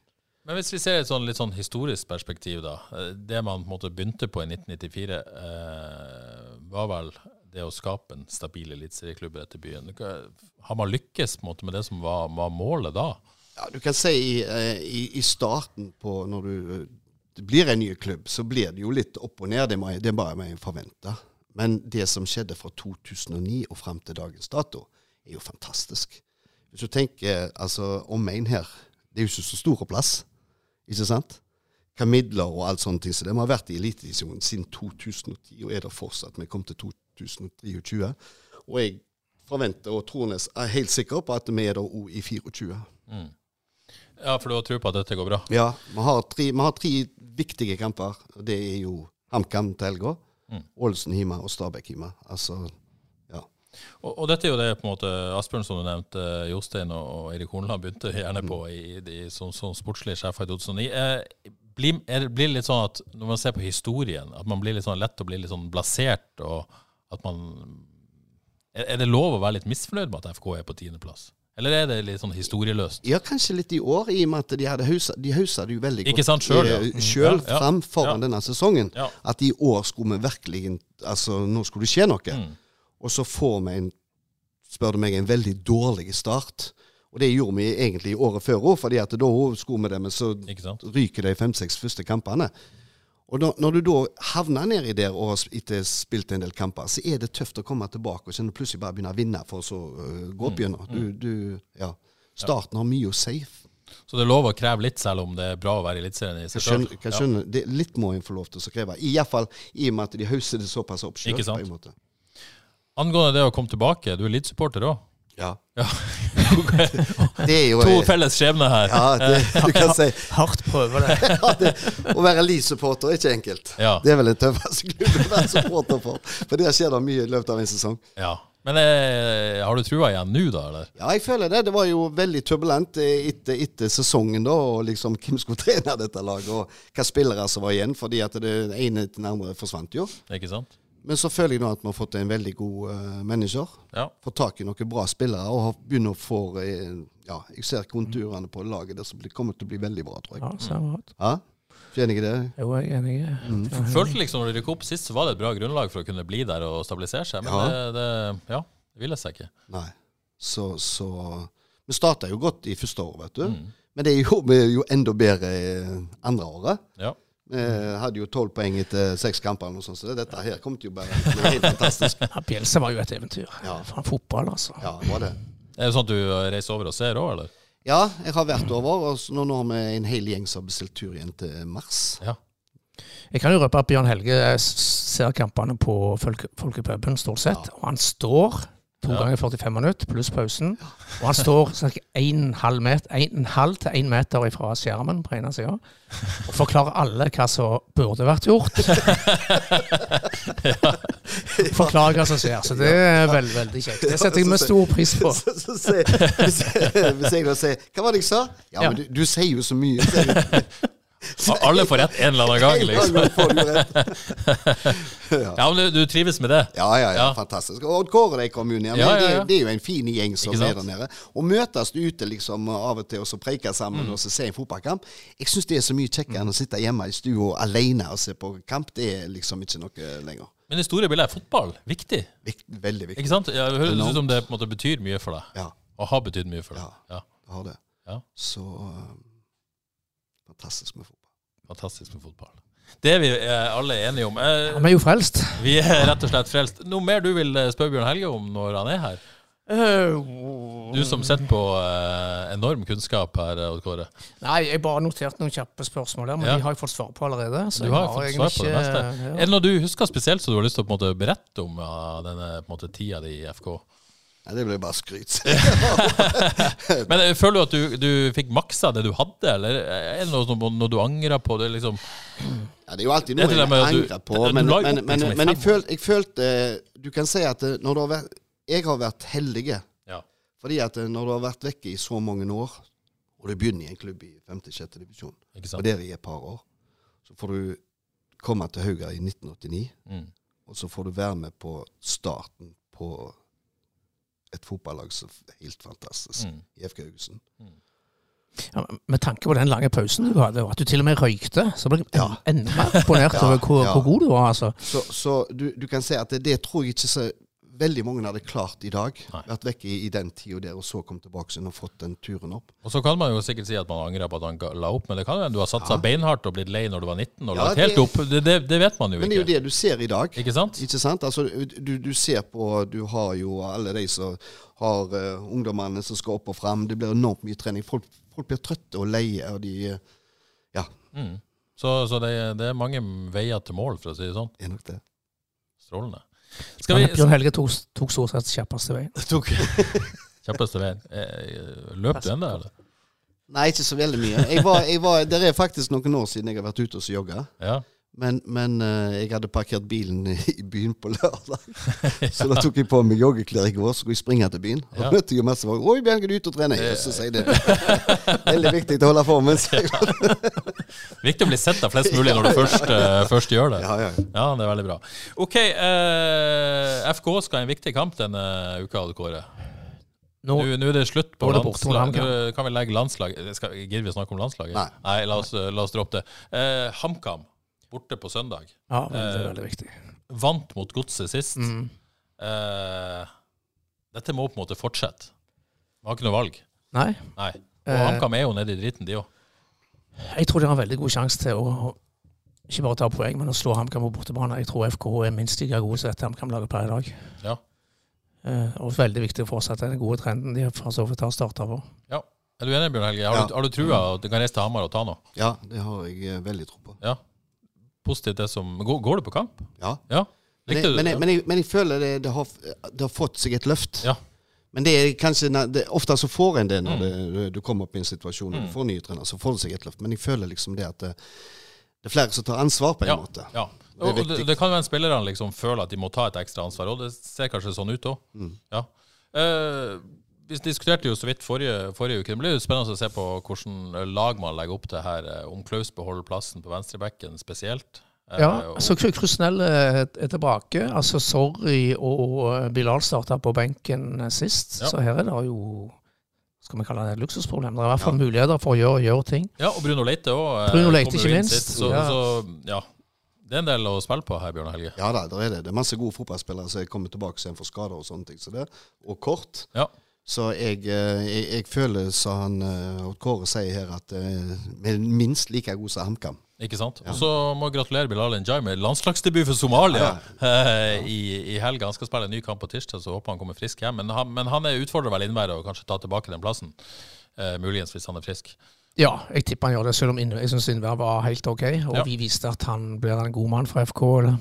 [SPEAKER 1] Men hvis vi ser et sånn, litt sånn historisk perspektiv, da. eh, Det man på en måte begynte på i 1994, eh, var vel det å skape en stabil eliteserieklubb i dette byen. Hva- Har man lykkes på en måte med det som var, var målet da?
[SPEAKER 3] Ja, du kan si i, eh, i, i starten på når du eh, det blir en ny klubb, så blir det jo litt opp og ned. Det, må, jeg- det er bare meg forvente. Men det som skjedde fra 2009 og fram til dagens dato, er jo fantastisk. Hvis du tenker altså omegn her, det er jo ikke så stor plass, ikke sant? Hva midler og alt sånne ting. Så de har vært i elitedivisjonen siden 2010, og er der fortsatt. Vi kom til 2023. Og jeg forventer og tror nes- er helt sikker på at vi er der òg i 24.
[SPEAKER 1] Ja, for du har tro på at dette går bra?
[SPEAKER 3] Ja, vi har tre, vi har tre viktige kamper. og Det er jo HamKam til helga,
[SPEAKER 1] Mm.
[SPEAKER 3] Ålesund hjemme og Stabæk hjemme. Altså, ja.
[SPEAKER 1] Og, og dette er jo det på en måte Asbjørn, som du nevnte, eh, Jostein og, og Eirik Horneland begynte gjerne på i, i, de- som, som sportslige sjefer i 2009. Eh, blir, er, det- blir det litt sånn at når man ser på historien, at man blir litt sånn lett å bli litt sånn blasert, og at man Er, er det lov å være litt misfornøyd med at FK er på tiendeplass Eller er det litt sånn historieløst?
[SPEAKER 3] Ja, kanskje litt i år, i og med at de hadde hausa, de hausa det jo veldig
[SPEAKER 1] Ikke sant, selv, ja.
[SPEAKER 3] eh,
[SPEAKER 1] Mm.
[SPEAKER 3] selv
[SPEAKER 1] Ja, ja,
[SPEAKER 3] fram foran
[SPEAKER 1] ja.
[SPEAKER 3] denne sesongen.
[SPEAKER 1] Ja.
[SPEAKER 3] At i år skulle vi virkelig Altså, nå skulle det skje noe.
[SPEAKER 1] Mm.
[SPEAKER 3] Og så får vi en, spør du meg, en veldig dårlig start. Og det gjorde vi egentlig i året før òg, fordi at da skulle vi det, men så
[SPEAKER 1] Ikke sant?
[SPEAKER 3] ryker de fem-seks første kampene. Og da, når du da havner nedi der og har sp- etter spilt en del kamper, så er det tøft å komme tilbake og så plutselig bare begynne å vinne for å så øh,
[SPEAKER 1] Mm.
[SPEAKER 3] gå opp igjennom. Du, du, ja. Starten har mye å si.
[SPEAKER 1] Så det er lov å kreve litt, selv om det er bra å være i Eliteserien i
[SPEAKER 3] Jeg
[SPEAKER 1] seg sjøl?
[SPEAKER 3] skjønner, jeg skjønner, det, litt må en få lov til å kreve. I hvert fall i og med at de hauser det såpass opp sjøl.
[SPEAKER 1] Ikke sant?
[SPEAKER 3] på en måte.
[SPEAKER 1] Angående det å komme tilbake, du er Leeds-supporter òg.
[SPEAKER 3] Ja.
[SPEAKER 1] Ja.
[SPEAKER 3] Det er jo eh,
[SPEAKER 1] to felles skjebner her.
[SPEAKER 3] Ja, det, du kan si
[SPEAKER 2] Eh, Hardt prøve det.
[SPEAKER 3] ja, det, Å være Leeds-supporter er ikke enkelt.
[SPEAKER 1] Ja.
[SPEAKER 3] Det er vel den tøffeste klubben å være supporter for. For der skjer det mye i løpet av en sesong.
[SPEAKER 1] Ja. Men eh, har du trua igjen nå, da? eller?
[SPEAKER 3] Ja, jeg føler det. Det var jo veldig turbulent eh, etter, etter sesongen, da. Og liksom hvem skulle trene dette laget, og hva spillere som var igjen. Fordi at det ene til den andre forsvant jo.
[SPEAKER 1] Ikke sant?
[SPEAKER 3] Men så føler jeg nå at vi har fått en veldig god eh, manager.
[SPEAKER 1] Ja.
[SPEAKER 3] Fått tak i noen bra spillere og har- begynner å få eh, Ja, jeg ser konturene på laget der som blir- kommer til å bli veldig bra, tror jeg.
[SPEAKER 2] Ja, stemmer godt.
[SPEAKER 3] Ja? Du er enig i det?
[SPEAKER 2] Jo, jeg er enig.
[SPEAKER 1] Følte liksom når de rykket opp sist, så var det et bra grunnlag for å kunne bli der og stabilisere seg. Men
[SPEAKER 3] Ja.
[SPEAKER 1] det, det, ja, det ville seg ikke.
[SPEAKER 3] Nei. Så, så Vi starta jo godt i første året, vet du.
[SPEAKER 2] Mm.
[SPEAKER 3] Men det gjorde vi jo enda bedre eh, andre året.
[SPEAKER 1] Ja.
[SPEAKER 3] Vi hadde jo tolv poeng etter seks kamper, eller noe sånt, så det- dette her kom til å være helt fantastisk.
[SPEAKER 2] Ja, Bjelsa var jo et eventyr.
[SPEAKER 3] Ja.
[SPEAKER 2] Faen, fotball, altså.
[SPEAKER 3] Ja, det var det.
[SPEAKER 1] Er det sånn at du reiser over og ser òg, eller?
[SPEAKER 3] Ja, jeg har vært over, og så nå nå har vi en hel gjeng som har bestilt tur igjen til mars.
[SPEAKER 1] Ja.
[SPEAKER 2] Jeg kan jo røpe at Bjørn Helge eh, s- ser kampene på folke, folkepuben stort sett, og han står to
[SPEAKER 1] Ja.
[SPEAKER 2] ganger 45 minutter pluss pausen. Og han står ca. 1,5 meter, en halv til 1 meter fra skjermen på ene sida og forklarer alle hva som burde vært gjort. Forklarer hva som skjer. Så det er veldig, veldig kjekt. Det setter jeg med stor pris på.
[SPEAKER 3] Så, så, sier- hvis, jeg- hvis jeg da sier Hva var det jeg sa? Ja,
[SPEAKER 2] Ja.
[SPEAKER 3] men du, du sier jo så mye. sier jeg.
[SPEAKER 1] Og Alle får rett en eller annen gang, liksom.
[SPEAKER 3] Ja, får du rett.
[SPEAKER 1] Ja, men du, du trives med det?
[SPEAKER 3] Ja, ja, ja,
[SPEAKER 1] Ja.
[SPEAKER 3] fantastisk. Og Odd Kåre de kom jo ned. men
[SPEAKER 1] Ja, ja, ja.
[SPEAKER 3] Det, det er jo en fin gjeng som
[SPEAKER 1] Ikke
[SPEAKER 3] er
[SPEAKER 1] sant?
[SPEAKER 3] der nede. Og møtes ute liksom av og til og så preike sammen
[SPEAKER 1] Mm.
[SPEAKER 3] og så se en fotballkamp. Jeg syns det er så mye kjekkere enn å sitte hjemme i stua alene og se på kamp. Det er liksom ikke noe lenger.
[SPEAKER 1] Men det store bildet er fotball. Viktig.
[SPEAKER 3] Vikt, veldig viktig.
[SPEAKER 1] Ikke sant? Ja, Det høres ut som det på en måte betyr mye for deg.
[SPEAKER 3] Ja,
[SPEAKER 1] Og har betydd mye for deg. Ja.
[SPEAKER 3] jeg har det.
[SPEAKER 1] Ja.
[SPEAKER 3] Så um, Fantastisk med fotball.
[SPEAKER 1] Fantastisk med fotball. Det er vi eh, alle enige om. Eh,
[SPEAKER 2] Vi er jo frelst.
[SPEAKER 1] Vi er rett og slett frelst. Noe mer du vil eh, spørre Bjørn Helge om når han er her? Eh, Du som sitter på eh, enorm kunnskap her, eh, Odd Kåre.
[SPEAKER 2] Nei, jeg bare noterte noen kjappe spørsmål der, men
[SPEAKER 1] Ja.
[SPEAKER 2] de har jeg fått svar på allerede.
[SPEAKER 1] Du
[SPEAKER 2] Så jeg
[SPEAKER 1] har fått svar på det
[SPEAKER 2] egentlig
[SPEAKER 1] meste.
[SPEAKER 2] ikke-
[SPEAKER 1] Er det noe du husker spesielt som du har lyst til å på en måte berette om av denne på en måte, tida di i FK?
[SPEAKER 3] Nei, det ble bare skryt.
[SPEAKER 1] Men eh, Føler du at du, du fikk maksa det du hadde, eller er det noe, som- noe du angrer på? Det, er liksom,
[SPEAKER 3] Ja, det er jo alltid
[SPEAKER 1] Det er
[SPEAKER 3] noe
[SPEAKER 1] til
[SPEAKER 3] jeg
[SPEAKER 1] og med at du-
[SPEAKER 3] angrer på,
[SPEAKER 1] det- det-
[SPEAKER 3] men,
[SPEAKER 1] du la jo
[SPEAKER 3] men,
[SPEAKER 1] opp
[SPEAKER 3] men,
[SPEAKER 1] liksom i
[SPEAKER 3] men jeg,
[SPEAKER 1] fem
[SPEAKER 3] følte, jeg følte Du kan si at eh, når det har vært, jeg har vært heldige
[SPEAKER 1] ja.
[SPEAKER 3] Fordi at eh, når du har vært vekke i så mange år, og du begynner i en klubb i 5.-6. divisjon,
[SPEAKER 1] Ikke
[SPEAKER 3] og
[SPEAKER 1] sant?
[SPEAKER 3] der i et par år, så får du komme til Hauga i 1989,
[SPEAKER 1] Mm.
[SPEAKER 3] og så får du være med på starten på et fotballag som er helt fantastisk,
[SPEAKER 1] Mm.
[SPEAKER 3] i FK Haugesund.
[SPEAKER 2] Ja, med tanke på den lange pausen du hadde, og at du til og med røykte, så ble jeg
[SPEAKER 3] Ja.
[SPEAKER 2] en- enda mer imponert over hvor,
[SPEAKER 3] ja.
[SPEAKER 2] hvor god du var. altså.
[SPEAKER 3] Så, så du, du kan si at det, det tror jeg ikke så veldig mange hadde klart i dag.
[SPEAKER 1] Nei.
[SPEAKER 3] Vært vekke i, i den tida der, og så kom tilbake igjen og fått den turen opp.
[SPEAKER 1] Og Så kan man jo sikkert si at man angrer på at han ga- la opp, men det kan jo hende du har
[SPEAKER 3] Ja.
[SPEAKER 1] satsa beinhardt og blitt lei når du var 19 og
[SPEAKER 3] Ja,
[SPEAKER 1] lagt
[SPEAKER 3] det-
[SPEAKER 1] helt opp. Det, det, det vet man jo
[SPEAKER 3] Men det er jo
[SPEAKER 1] ikke.
[SPEAKER 3] det du ser i dag.
[SPEAKER 1] Ikke sant?
[SPEAKER 3] Ikke sant? Altså, du, du ser på Du har jo alle de som har eh, ungdommene som skal opp og fram. Det blir enormt mye trening. Folk, folk blir trøtte og leie. Og de eh, Ja,
[SPEAKER 1] Mm. Så, så det, det er mange veier til mål, for å si det sånn.
[SPEAKER 3] det er nok det.
[SPEAKER 1] Strålende. Skal
[SPEAKER 2] Men
[SPEAKER 1] vi
[SPEAKER 2] Bjørn Helge tok, tok stort sett kjappeste veien.
[SPEAKER 1] tok Kjappeste veien. Eh, Løp du ennå, eller?
[SPEAKER 3] Nei, ikke så veldig mye. Jeg var, jeg var, det er faktisk noen år siden jeg har vært ute og så jogga.
[SPEAKER 1] Ja.
[SPEAKER 3] Men, men eh, jeg hadde parkert bilen i byen på lørdag. Så da tok jeg på meg joggeklær i går, så skulle jeg springe til byen. Og
[SPEAKER 1] Ja.
[SPEAKER 3] da møtte jeg jo masse folk. 'Oi, Bjørn, er du ute og trener?' Og så sier jeg det.
[SPEAKER 1] Eh.
[SPEAKER 3] Veldig viktig å holde formen. sier jeg.
[SPEAKER 1] Viktig å bli sett av flest mulig når du først, eh, først gjør det.
[SPEAKER 3] Ja, ja.
[SPEAKER 1] Ja, det er veldig bra. OK, eh, FK skal ha en viktig kamp denne uka, Odd Kåre.
[SPEAKER 2] Nå,
[SPEAKER 1] Nå nå er det slutt på
[SPEAKER 2] Nå er det borte med
[SPEAKER 1] landslag.
[SPEAKER 2] HamKam.
[SPEAKER 1] Nå kan vi legge landslag Det skal- Gidder vi å snakke om landslaget?
[SPEAKER 3] Nei.
[SPEAKER 1] la, oss, la oss droppe det. Eh, HamKam borte på søndag.
[SPEAKER 2] ja, men det er
[SPEAKER 1] eh,
[SPEAKER 2] veldig viktig.
[SPEAKER 1] Vant mot Godset sist.
[SPEAKER 2] Mm.
[SPEAKER 1] Eh, dette må på en måte fortsette. Vi har ikke noe valg.
[SPEAKER 2] Nei,
[SPEAKER 1] Nei. Og
[SPEAKER 2] Eh.
[SPEAKER 1] HamKam er jo nede i driten, de òg.
[SPEAKER 2] jeg tror de har en veldig god sjanse til å ikke bare ta poeng, men å slå HamKam på bortebane. Jeg tror FKH er minst like gode som dette HamKam-laget per i dag.
[SPEAKER 1] Ja.
[SPEAKER 2] Eh, og veldig viktig å fortsette den gode trenden de for så vidt har starta på.
[SPEAKER 1] Ja. Er du enig, Bjørn Helge? Har,
[SPEAKER 3] Ja.
[SPEAKER 1] du, har du trua at du kan reise til Hamar og ta noe?
[SPEAKER 3] Ja, det har jeg eh, veldig tro på.
[SPEAKER 1] Ja. Positivt det som Går, går du på kamp?
[SPEAKER 3] Ja.
[SPEAKER 1] Ja.
[SPEAKER 3] Men
[SPEAKER 1] Likte
[SPEAKER 3] jeg,
[SPEAKER 1] du
[SPEAKER 3] men
[SPEAKER 1] det?
[SPEAKER 3] jeg, men jeg, men jeg føler det, det, har, det har fått seg et løft.
[SPEAKER 1] Ja. Mm.
[SPEAKER 3] Men det er kanskje na- det, ofte så får en det når det, du kommer opp i en situasjon og du får nye trenere, så får det seg et løft. Men jeg føler liksom det at det, det er flere som tar ansvar, på en
[SPEAKER 1] ja.
[SPEAKER 3] måte.
[SPEAKER 1] Ja.
[SPEAKER 3] er
[SPEAKER 1] Og det,
[SPEAKER 3] viktig.
[SPEAKER 1] det kan være spillerne liksom føler at de må ta et ekstra ansvar, og det ser kanskje sånn ut òg. Ja. Eh, vi diskuterte jo så vidt forrige, forrige uke. Det blir jo spennende å se på hvordan lag man legger opp til her. eh, Om Klaus beholder plassen på venstrebekken spesielt. Eh,
[SPEAKER 2] Ja,
[SPEAKER 1] og-
[SPEAKER 2] så Kru- Krusnell eh, er tilbake. Altså Sorry og eh, Bilal starta på benken eh, sist,
[SPEAKER 1] Ja.
[SPEAKER 2] så her er det jo skal vi kalle det et luksusproblem. Det er i hvert fall muligheter for å gjøre, gjøre ting.
[SPEAKER 1] ja, og Bruno Leite eh, òg.
[SPEAKER 2] Bruno Leite, ikke minst.
[SPEAKER 1] Så,
[SPEAKER 2] Ja.
[SPEAKER 1] så ja. Det er en del å spille på her, Bjørn Helge.
[SPEAKER 3] Ja da, der er det. Det er masse gode fotballspillere som er kommet tilbake igjen for skader og sånne ting. Så det, og kort.
[SPEAKER 1] Ja.
[SPEAKER 3] Så jeg, eh, jeg, jeg føler, som han eh, Odd Kåre sier her, at eh, vi er minst like gode som HamKam.
[SPEAKER 1] Ikke sant? Og så må jeg gratulere Bilal Njai med landslagsdebut for Somalia eh, i, i helga. Han skal spille en ny kamp på tirsdag, så håper han kommer frisk hjem. Men han, men han er utfordrer vel innværet og kanskje tar tilbake den plassen. Eh, muligens, hvis han er frisk.
[SPEAKER 2] Ja, jeg tipper han gjør det, selv om Innve- jeg syns Innvær var helt OK. Og
[SPEAKER 1] Ja.
[SPEAKER 2] vi viste at han blir en god mann for FK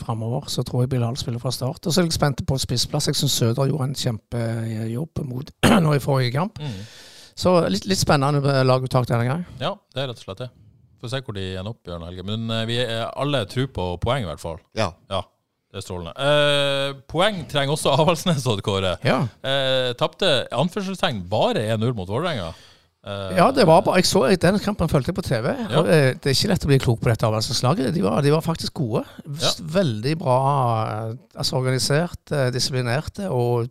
[SPEAKER 2] framover. Så tror jeg Bilal spiller fra start. Og så er jeg spent på spissplass. Jeg syns Søder gjorde en kjempejobb mot nå i forrige kamp.
[SPEAKER 1] Mm.
[SPEAKER 2] Så litt, litt spennende eh, laguttak denne gangen.
[SPEAKER 1] Ja, det er rett og slett det. Får se hvor de ender opp, Bjørn Helge. Men eh, vi er alle tror på poeng, i hvert fall.
[SPEAKER 3] Ja.
[SPEAKER 1] Ja, det er strålende. Eh, poeng trenger også Avaldsnes, Odd Kåre.
[SPEAKER 2] Ja.
[SPEAKER 1] Eh, Tapte anførselstegn bare 1-0 mot Vålerenga. Eh,
[SPEAKER 2] Ja, det var bare, jeg så jeg- den kampen fulgte jeg på TV.
[SPEAKER 1] Ja.
[SPEAKER 2] Og, eh, det er ikke lett å bli klok på dette avlandslaget. De, var- de var faktisk gode.
[SPEAKER 1] Ja.
[SPEAKER 2] Veldig bra eh, altså organisert, eh, disiplinerte, og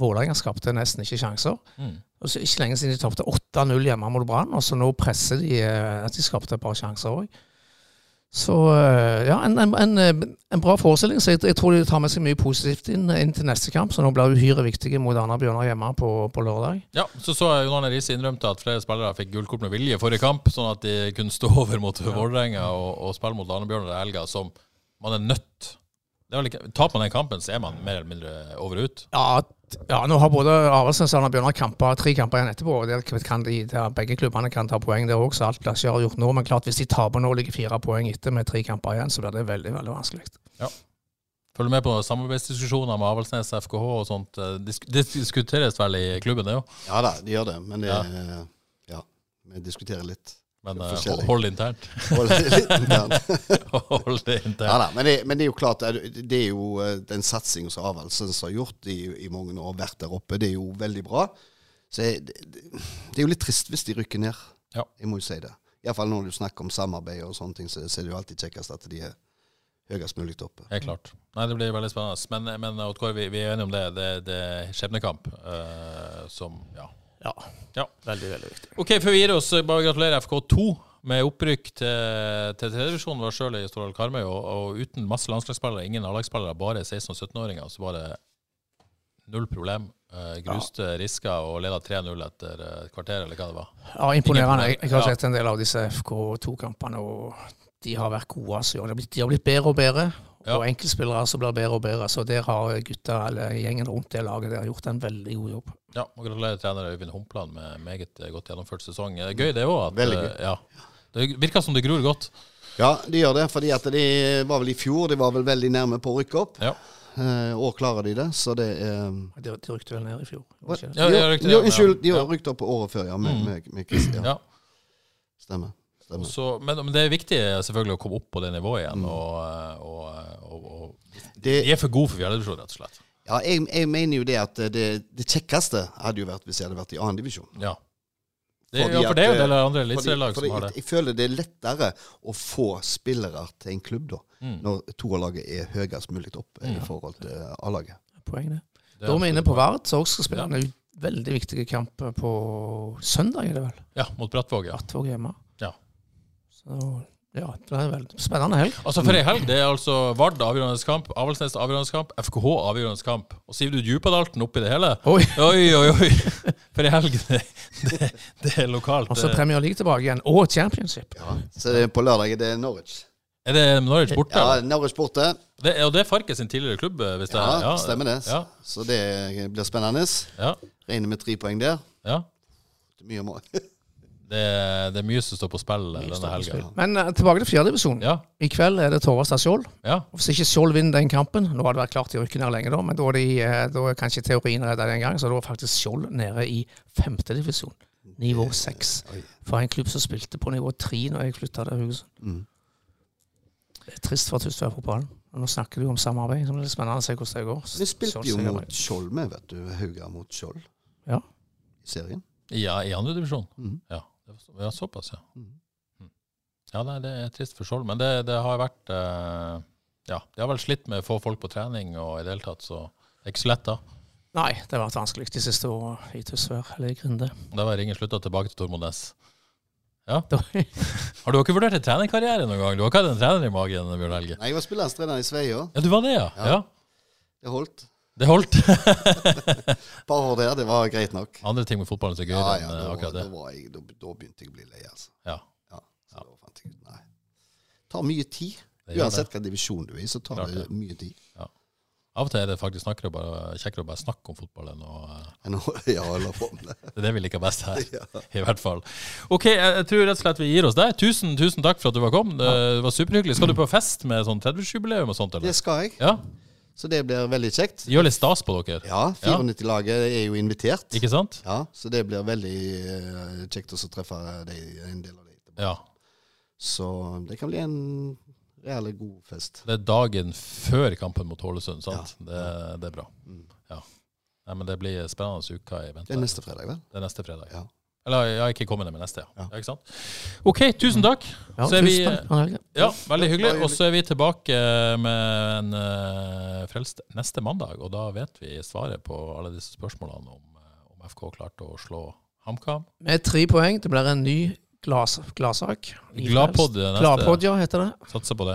[SPEAKER 2] Vålerenga skapte nesten ikke sjanser.
[SPEAKER 1] Mm.
[SPEAKER 2] Og så Ikke lenge siden de tapte 8-0 hjemme mot Brann, og så nå presser de eh, at de skapte et par sjanser òg. Så eh, ja, en, en, en, eh, en bra forestilling. Så jeg, jeg tror de tar med seg mye positivt inn, inn til neste kamp, så nå blir uhyre viktige mot Arna-Bjørnar hjemme på, på lørdag.
[SPEAKER 1] Ja, så så jeg Jon Arne Riise innrømte at flere spillere fikk gullkort med vilje i forrige kamp, sånn at de kunne stå over mot Vålerenga og, og spille mot Arnebjørnar i helga, som man er nødt det er vel ikke, Taper man den kampen, så er man mer eller mindre over og ut.
[SPEAKER 2] Ja, t- ja, nå har både Avaldsnes og Bjørnar kamper, tre kamper igjen etterpå. og Der kan de, der begge klubbene kan ta poeng der òg, så alt blir ikke avgjort nå. Men klart, hvis de taper nå og ligger fire poeng etter med tre kamper igjen, så blir det veldig veldig vanskelig.
[SPEAKER 1] Følger med på samarbeidsdiskusjoner med Avaldsnes, FKH og sånt. Eh, disk- Det diskuteres vel i klubben, det òg,
[SPEAKER 3] ja da, de gjør det. Men det,
[SPEAKER 1] Ja.
[SPEAKER 3] ja. ja, vi diskuterer litt.
[SPEAKER 1] men eh,
[SPEAKER 3] Forskjellig.
[SPEAKER 1] hold det internt.
[SPEAKER 3] Og litt internt.
[SPEAKER 1] hold det
[SPEAKER 3] Ja,
[SPEAKER 1] internt.
[SPEAKER 3] da, men, det, men det er jo klart, det er- det er jo eh, den satsingen som Avaldsnes har gjort i, i mange år, vært der oppe, det er jo veldig bra. Så jeg, det, det er jo litt trist hvis de rykker ned.
[SPEAKER 1] Ja.
[SPEAKER 3] Jeg må jo si det. Iallfall når du snakker om samarbeid og sånne ting, så, så er det jo alltid kjekkest at de er høyest mulig oppe.
[SPEAKER 1] Helt klart. Nei, det blir veldig spennende. Men, eh, men Odd Kåre, vi, vi er enige om det. Det, det er skjebnekamp eh, som Ja.
[SPEAKER 2] Ja.
[SPEAKER 1] Ja.
[SPEAKER 2] Veldig, veldig viktig.
[SPEAKER 1] Ok, før vi gir oss, eh, bare gratulerer FK2 med opprykk til, til tredjevisjonen. Var sjøl i Stordal Karmøy, og, og uten masse landslagsspillere, ingen A-lagsspillere, bare 16- og 17-åringer, så var det null problem. Eh, gruste, riska og leda 3-0 etter eh, et kvarter, eller hva det var.
[SPEAKER 2] Ja, Imponerende. Jeg, jeg har
[SPEAKER 1] Ja.
[SPEAKER 2] sett en del av disse FK2-kampene, og de har vært gode. altså. de, har blitt, de har blitt bedre og bedre,
[SPEAKER 1] Ja.
[SPEAKER 2] og enkeltspillere som blir bedre og bedre. Så der har gutta, eller gjengen rundt det laget der, gjort en veldig god jobb.
[SPEAKER 1] Ja, og Gratulerer trener Øyvind Humpland med meget eh, godt gjennomført sesong. Eh, Gøy det òg.
[SPEAKER 3] Veldig gøy.
[SPEAKER 1] Ja. Det virker som det gror godt.
[SPEAKER 3] Ja, de gjør det, fordi at de var vel i fjor, de var vel veldig nærme på å rykke opp.
[SPEAKER 1] Ja.
[SPEAKER 3] Eh, år klarer de det, så det er eh,
[SPEAKER 2] De, de rykte vel ned i fjor. gjorde de ikke det?
[SPEAKER 1] Ja, de har rykket
[SPEAKER 3] Jo,
[SPEAKER 1] opp, ja.
[SPEAKER 3] Unnskyld, de har
[SPEAKER 1] Ja. Mm.
[SPEAKER 3] rykt opp året før, ja. Med, med, med, Chris- ja.
[SPEAKER 1] Ja.
[SPEAKER 3] Stemmer.
[SPEAKER 1] Og
[SPEAKER 3] stemmer.
[SPEAKER 1] Så, men, men det er viktig eh, selvfølgelig å komme opp på det
[SPEAKER 3] Mm.
[SPEAKER 1] nivået igjen. Og, eh, og, og, og
[SPEAKER 3] Det,
[SPEAKER 1] De er for gode for fjerdedivisjon, rett og slett.
[SPEAKER 3] Ja, jeg, jeg mener jo det at det, det kjekkeste hadde jo vært hvis jeg hadde vært i annen divisjon.
[SPEAKER 1] Ja. Det,
[SPEAKER 3] Fordi
[SPEAKER 1] ja, for det er jo
[SPEAKER 3] at,
[SPEAKER 1] en del
[SPEAKER 3] eh,
[SPEAKER 1] andre eliteserielag
[SPEAKER 3] Fordi-
[SPEAKER 1] som har
[SPEAKER 3] fordi
[SPEAKER 1] det.
[SPEAKER 3] Jeg, jeg føler det er lettere å få spillere til en klubb da,
[SPEAKER 1] Mm.
[SPEAKER 3] når toerlaget er høyest mulig opp eh, i forhold til A-laget.
[SPEAKER 2] Poeng, det. Da er vi inne på Vard, som også skal spille en veldig viktig kamp på søndag, er det vel?
[SPEAKER 1] Ja, mot Brattvåg, ja.
[SPEAKER 2] Attvåg hjemme.
[SPEAKER 1] Ja.
[SPEAKER 2] Så ja, det er vel spennende helg.
[SPEAKER 1] Altså
[SPEAKER 3] Mm.
[SPEAKER 1] For ei helg det er altså Vard avgjørende kamp, Avaldsnes avgjørende kamp, FKH avgjørende kamp. Og sier du Djupadalten oppi det hele?
[SPEAKER 2] Oi.
[SPEAKER 1] Oi, oi, oi! For ei helg, det, det, det er lokalt. eh,
[SPEAKER 2] Og så Premier League tilbake igjen, og Championship.
[SPEAKER 3] Ja. Så det er på lørdag det er Norwich.
[SPEAKER 1] Er det Norwich borte?
[SPEAKER 3] Ja,
[SPEAKER 1] eller?
[SPEAKER 3] Norwich borte.
[SPEAKER 1] Det, er- og det er Farke sin tidligere klubb? eh, hvis det er.
[SPEAKER 3] Ja, stemmer det.
[SPEAKER 1] Ja,
[SPEAKER 3] Så det blir spennende.
[SPEAKER 1] ja,
[SPEAKER 3] Regner med tre poeng der.
[SPEAKER 1] ja.
[SPEAKER 3] Det er mye mål.
[SPEAKER 1] Det, er- det er mye som står på spill denne helga.
[SPEAKER 2] Men eh, tilbake til fjerdedivisjon.
[SPEAKER 1] Ja,
[SPEAKER 2] I kveld er det Torvastad Skjold.
[SPEAKER 1] ja.
[SPEAKER 2] Og Hvis ikke Skjold vinner den kampen Nå har det vært klart i rykken her lenge, da, men da er, de, eh, da er kanskje teorien redda den gang. Så da er faktisk Skjold nede i femtedivisjon, nivå seks. For en klubb som spilte på nivå tre når jeg flytta til Haugesund.
[SPEAKER 3] Mm.
[SPEAKER 2] Det er trist for Tystvær fotballen. Nå snakker du om samarbeid, så det blir spennende å se hvordan det går.
[SPEAKER 3] Vi spilte
[SPEAKER 2] Skjold
[SPEAKER 3] jo
[SPEAKER 2] sier
[SPEAKER 3] mot
[SPEAKER 2] nei.
[SPEAKER 3] Skjold, vi, vet du. Hauga mot Skjold
[SPEAKER 2] Ja.
[SPEAKER 3] i serien.
[SPEAKER 1] Ja, i andre divisjon.
[SPEAKER 3] Mhm.
[SPEAKER 1] Ja. det var så- ja, såpass, ja.
[SPEAKER 3] Mm.
[SPEAKER 1] Mhm. Ja, nei, det er trist for Skjold, men det, det har vært eh, Ja, de har vel slitt med å få folk på trening og i det hele tatt, så det er ikke så lett, da.
[SPEAKER 2] Nei, det har vært vanskelig de siste åra i Tysvær eller i Grinde.
[SPEAKER 1] Da var ringen slutta tilbake til Tormod Næss.
[SPEAKER 2] Da-
[SPEAKER 1] Har du ikke vurdert en trenerkarriere noen gang? Du har ikke hatt en trener i magen, Bjørn Helge?
[SPEAKER 3] Nei, jeg var spillerstrener i Sveio.
[SPEAKER 1] Ja, du var det, ja?
[SPEAKER 3] Ja.
[SPEAKER 1] Ja.
[SPEAKER 3] Det holdt.
[SPEAKER 1] Det holdt.
[SPEAKER 3] Bare år der, det var greit nok.
[SPEAKER 1] Andre ting med fotballen som er
[SPEAKER 3] Ja, ja,
[SPEAKER 1] gøyere enn eh,
[SPEAKER 3] da, var,
[SPEAKER 1] akkurat
[SPEAKER 3] da,
[SPEAKER 1] det.
[SPEAKER 3] var jeg, da, da begynte jeg å bli lei, altså.
[SPEAKER 1] Ja.
[SPEAKER 3] Ja, så da fant jeg ut Nei. Tar mye tid.
[SPEAKER 1] Det gjør
[SPEAKER 3] Uansett hvilken divisjon du er i, så tar
[SPEAKER 1] Klart
[SPEAKER 3] det
[SPEAKER 1] det.
[SPEAKER 3] mye tid.
[SPEAKER 1] Av og til er det faktisk snakkere å bare- kjekkere å bare snakke om fotball enn å eh,
[SPEAKER 3] Enn å- Ja, eller på med det.
[SPEAKER 1] Det er det vi liker best her, i hvert fall. Ok, jeg, jeg tror rett og slett vi gir oss der. Tusen, tusen takk for at du var kom. Det var superhyggelig. Skal du på fest med sånn 30-årsjubileum og sånt,
[SPEAKER 3] Det
[SPEAKER 1] eller?
[SPEAKER 3] skal jeg,
[SPEAKER 1] Ja?
[SPEAKER 3] så det blir veldig kjekt.
[SPEAKER 1] Gjør litt stas på dere.
[SPEAKER 3] Ja, 94-laget er jo invitert.
[SPEAKER 1] Ikke sant?
[SPEAKER 3] Ja, så det blir veldig eh, kjekt også å treffe deg, en del av deg.
[SPEAKER 1] Ja.
[SPEAKER 3] Så det kan bli en reell god fest.
[SPEAKER 1] Det er dagen før kampen mot Ålesund, sant? Det, det er bra. Ja. Nei, men det blir spennende uka i vente.
[SPEAKER 3] Mm. Det er neste fredag, vel?
[SPEAKER 1] Det er neste fredag.
[SPEAKER 3] Ja.
[SPEAKER 1] Eller ja, ikke kommende, men neste. Ja.
[SPEAKER 3] Ja.
[SPEAKER 1] ja. Ikke sant? OK, tusen takk.
[SPEAKER 2] Ja,
[SPEAKER 1] Så er vi- eh,
[SPEAKER 2] tusen takk for helgen.
[SPEAKER 1] Ja, veldig hyggelig.
[SPEAKER 3] hyggelig.
[SPEAKER 1] Og så er vi tilbake med en eh, frelst neste mandag, og da vet vi svaret på alle disse spørsmålene om, eh, om FK klarte å slå HamKam.
[SPEAKER 2] Med tre poeng. Det blir en ny glas, gladsak.
[SPEAKER 1] Gladpod er neste.
[SPEAKER 2] Gladpod, ja, heter det.
[SPEAKER 1] Satser på det.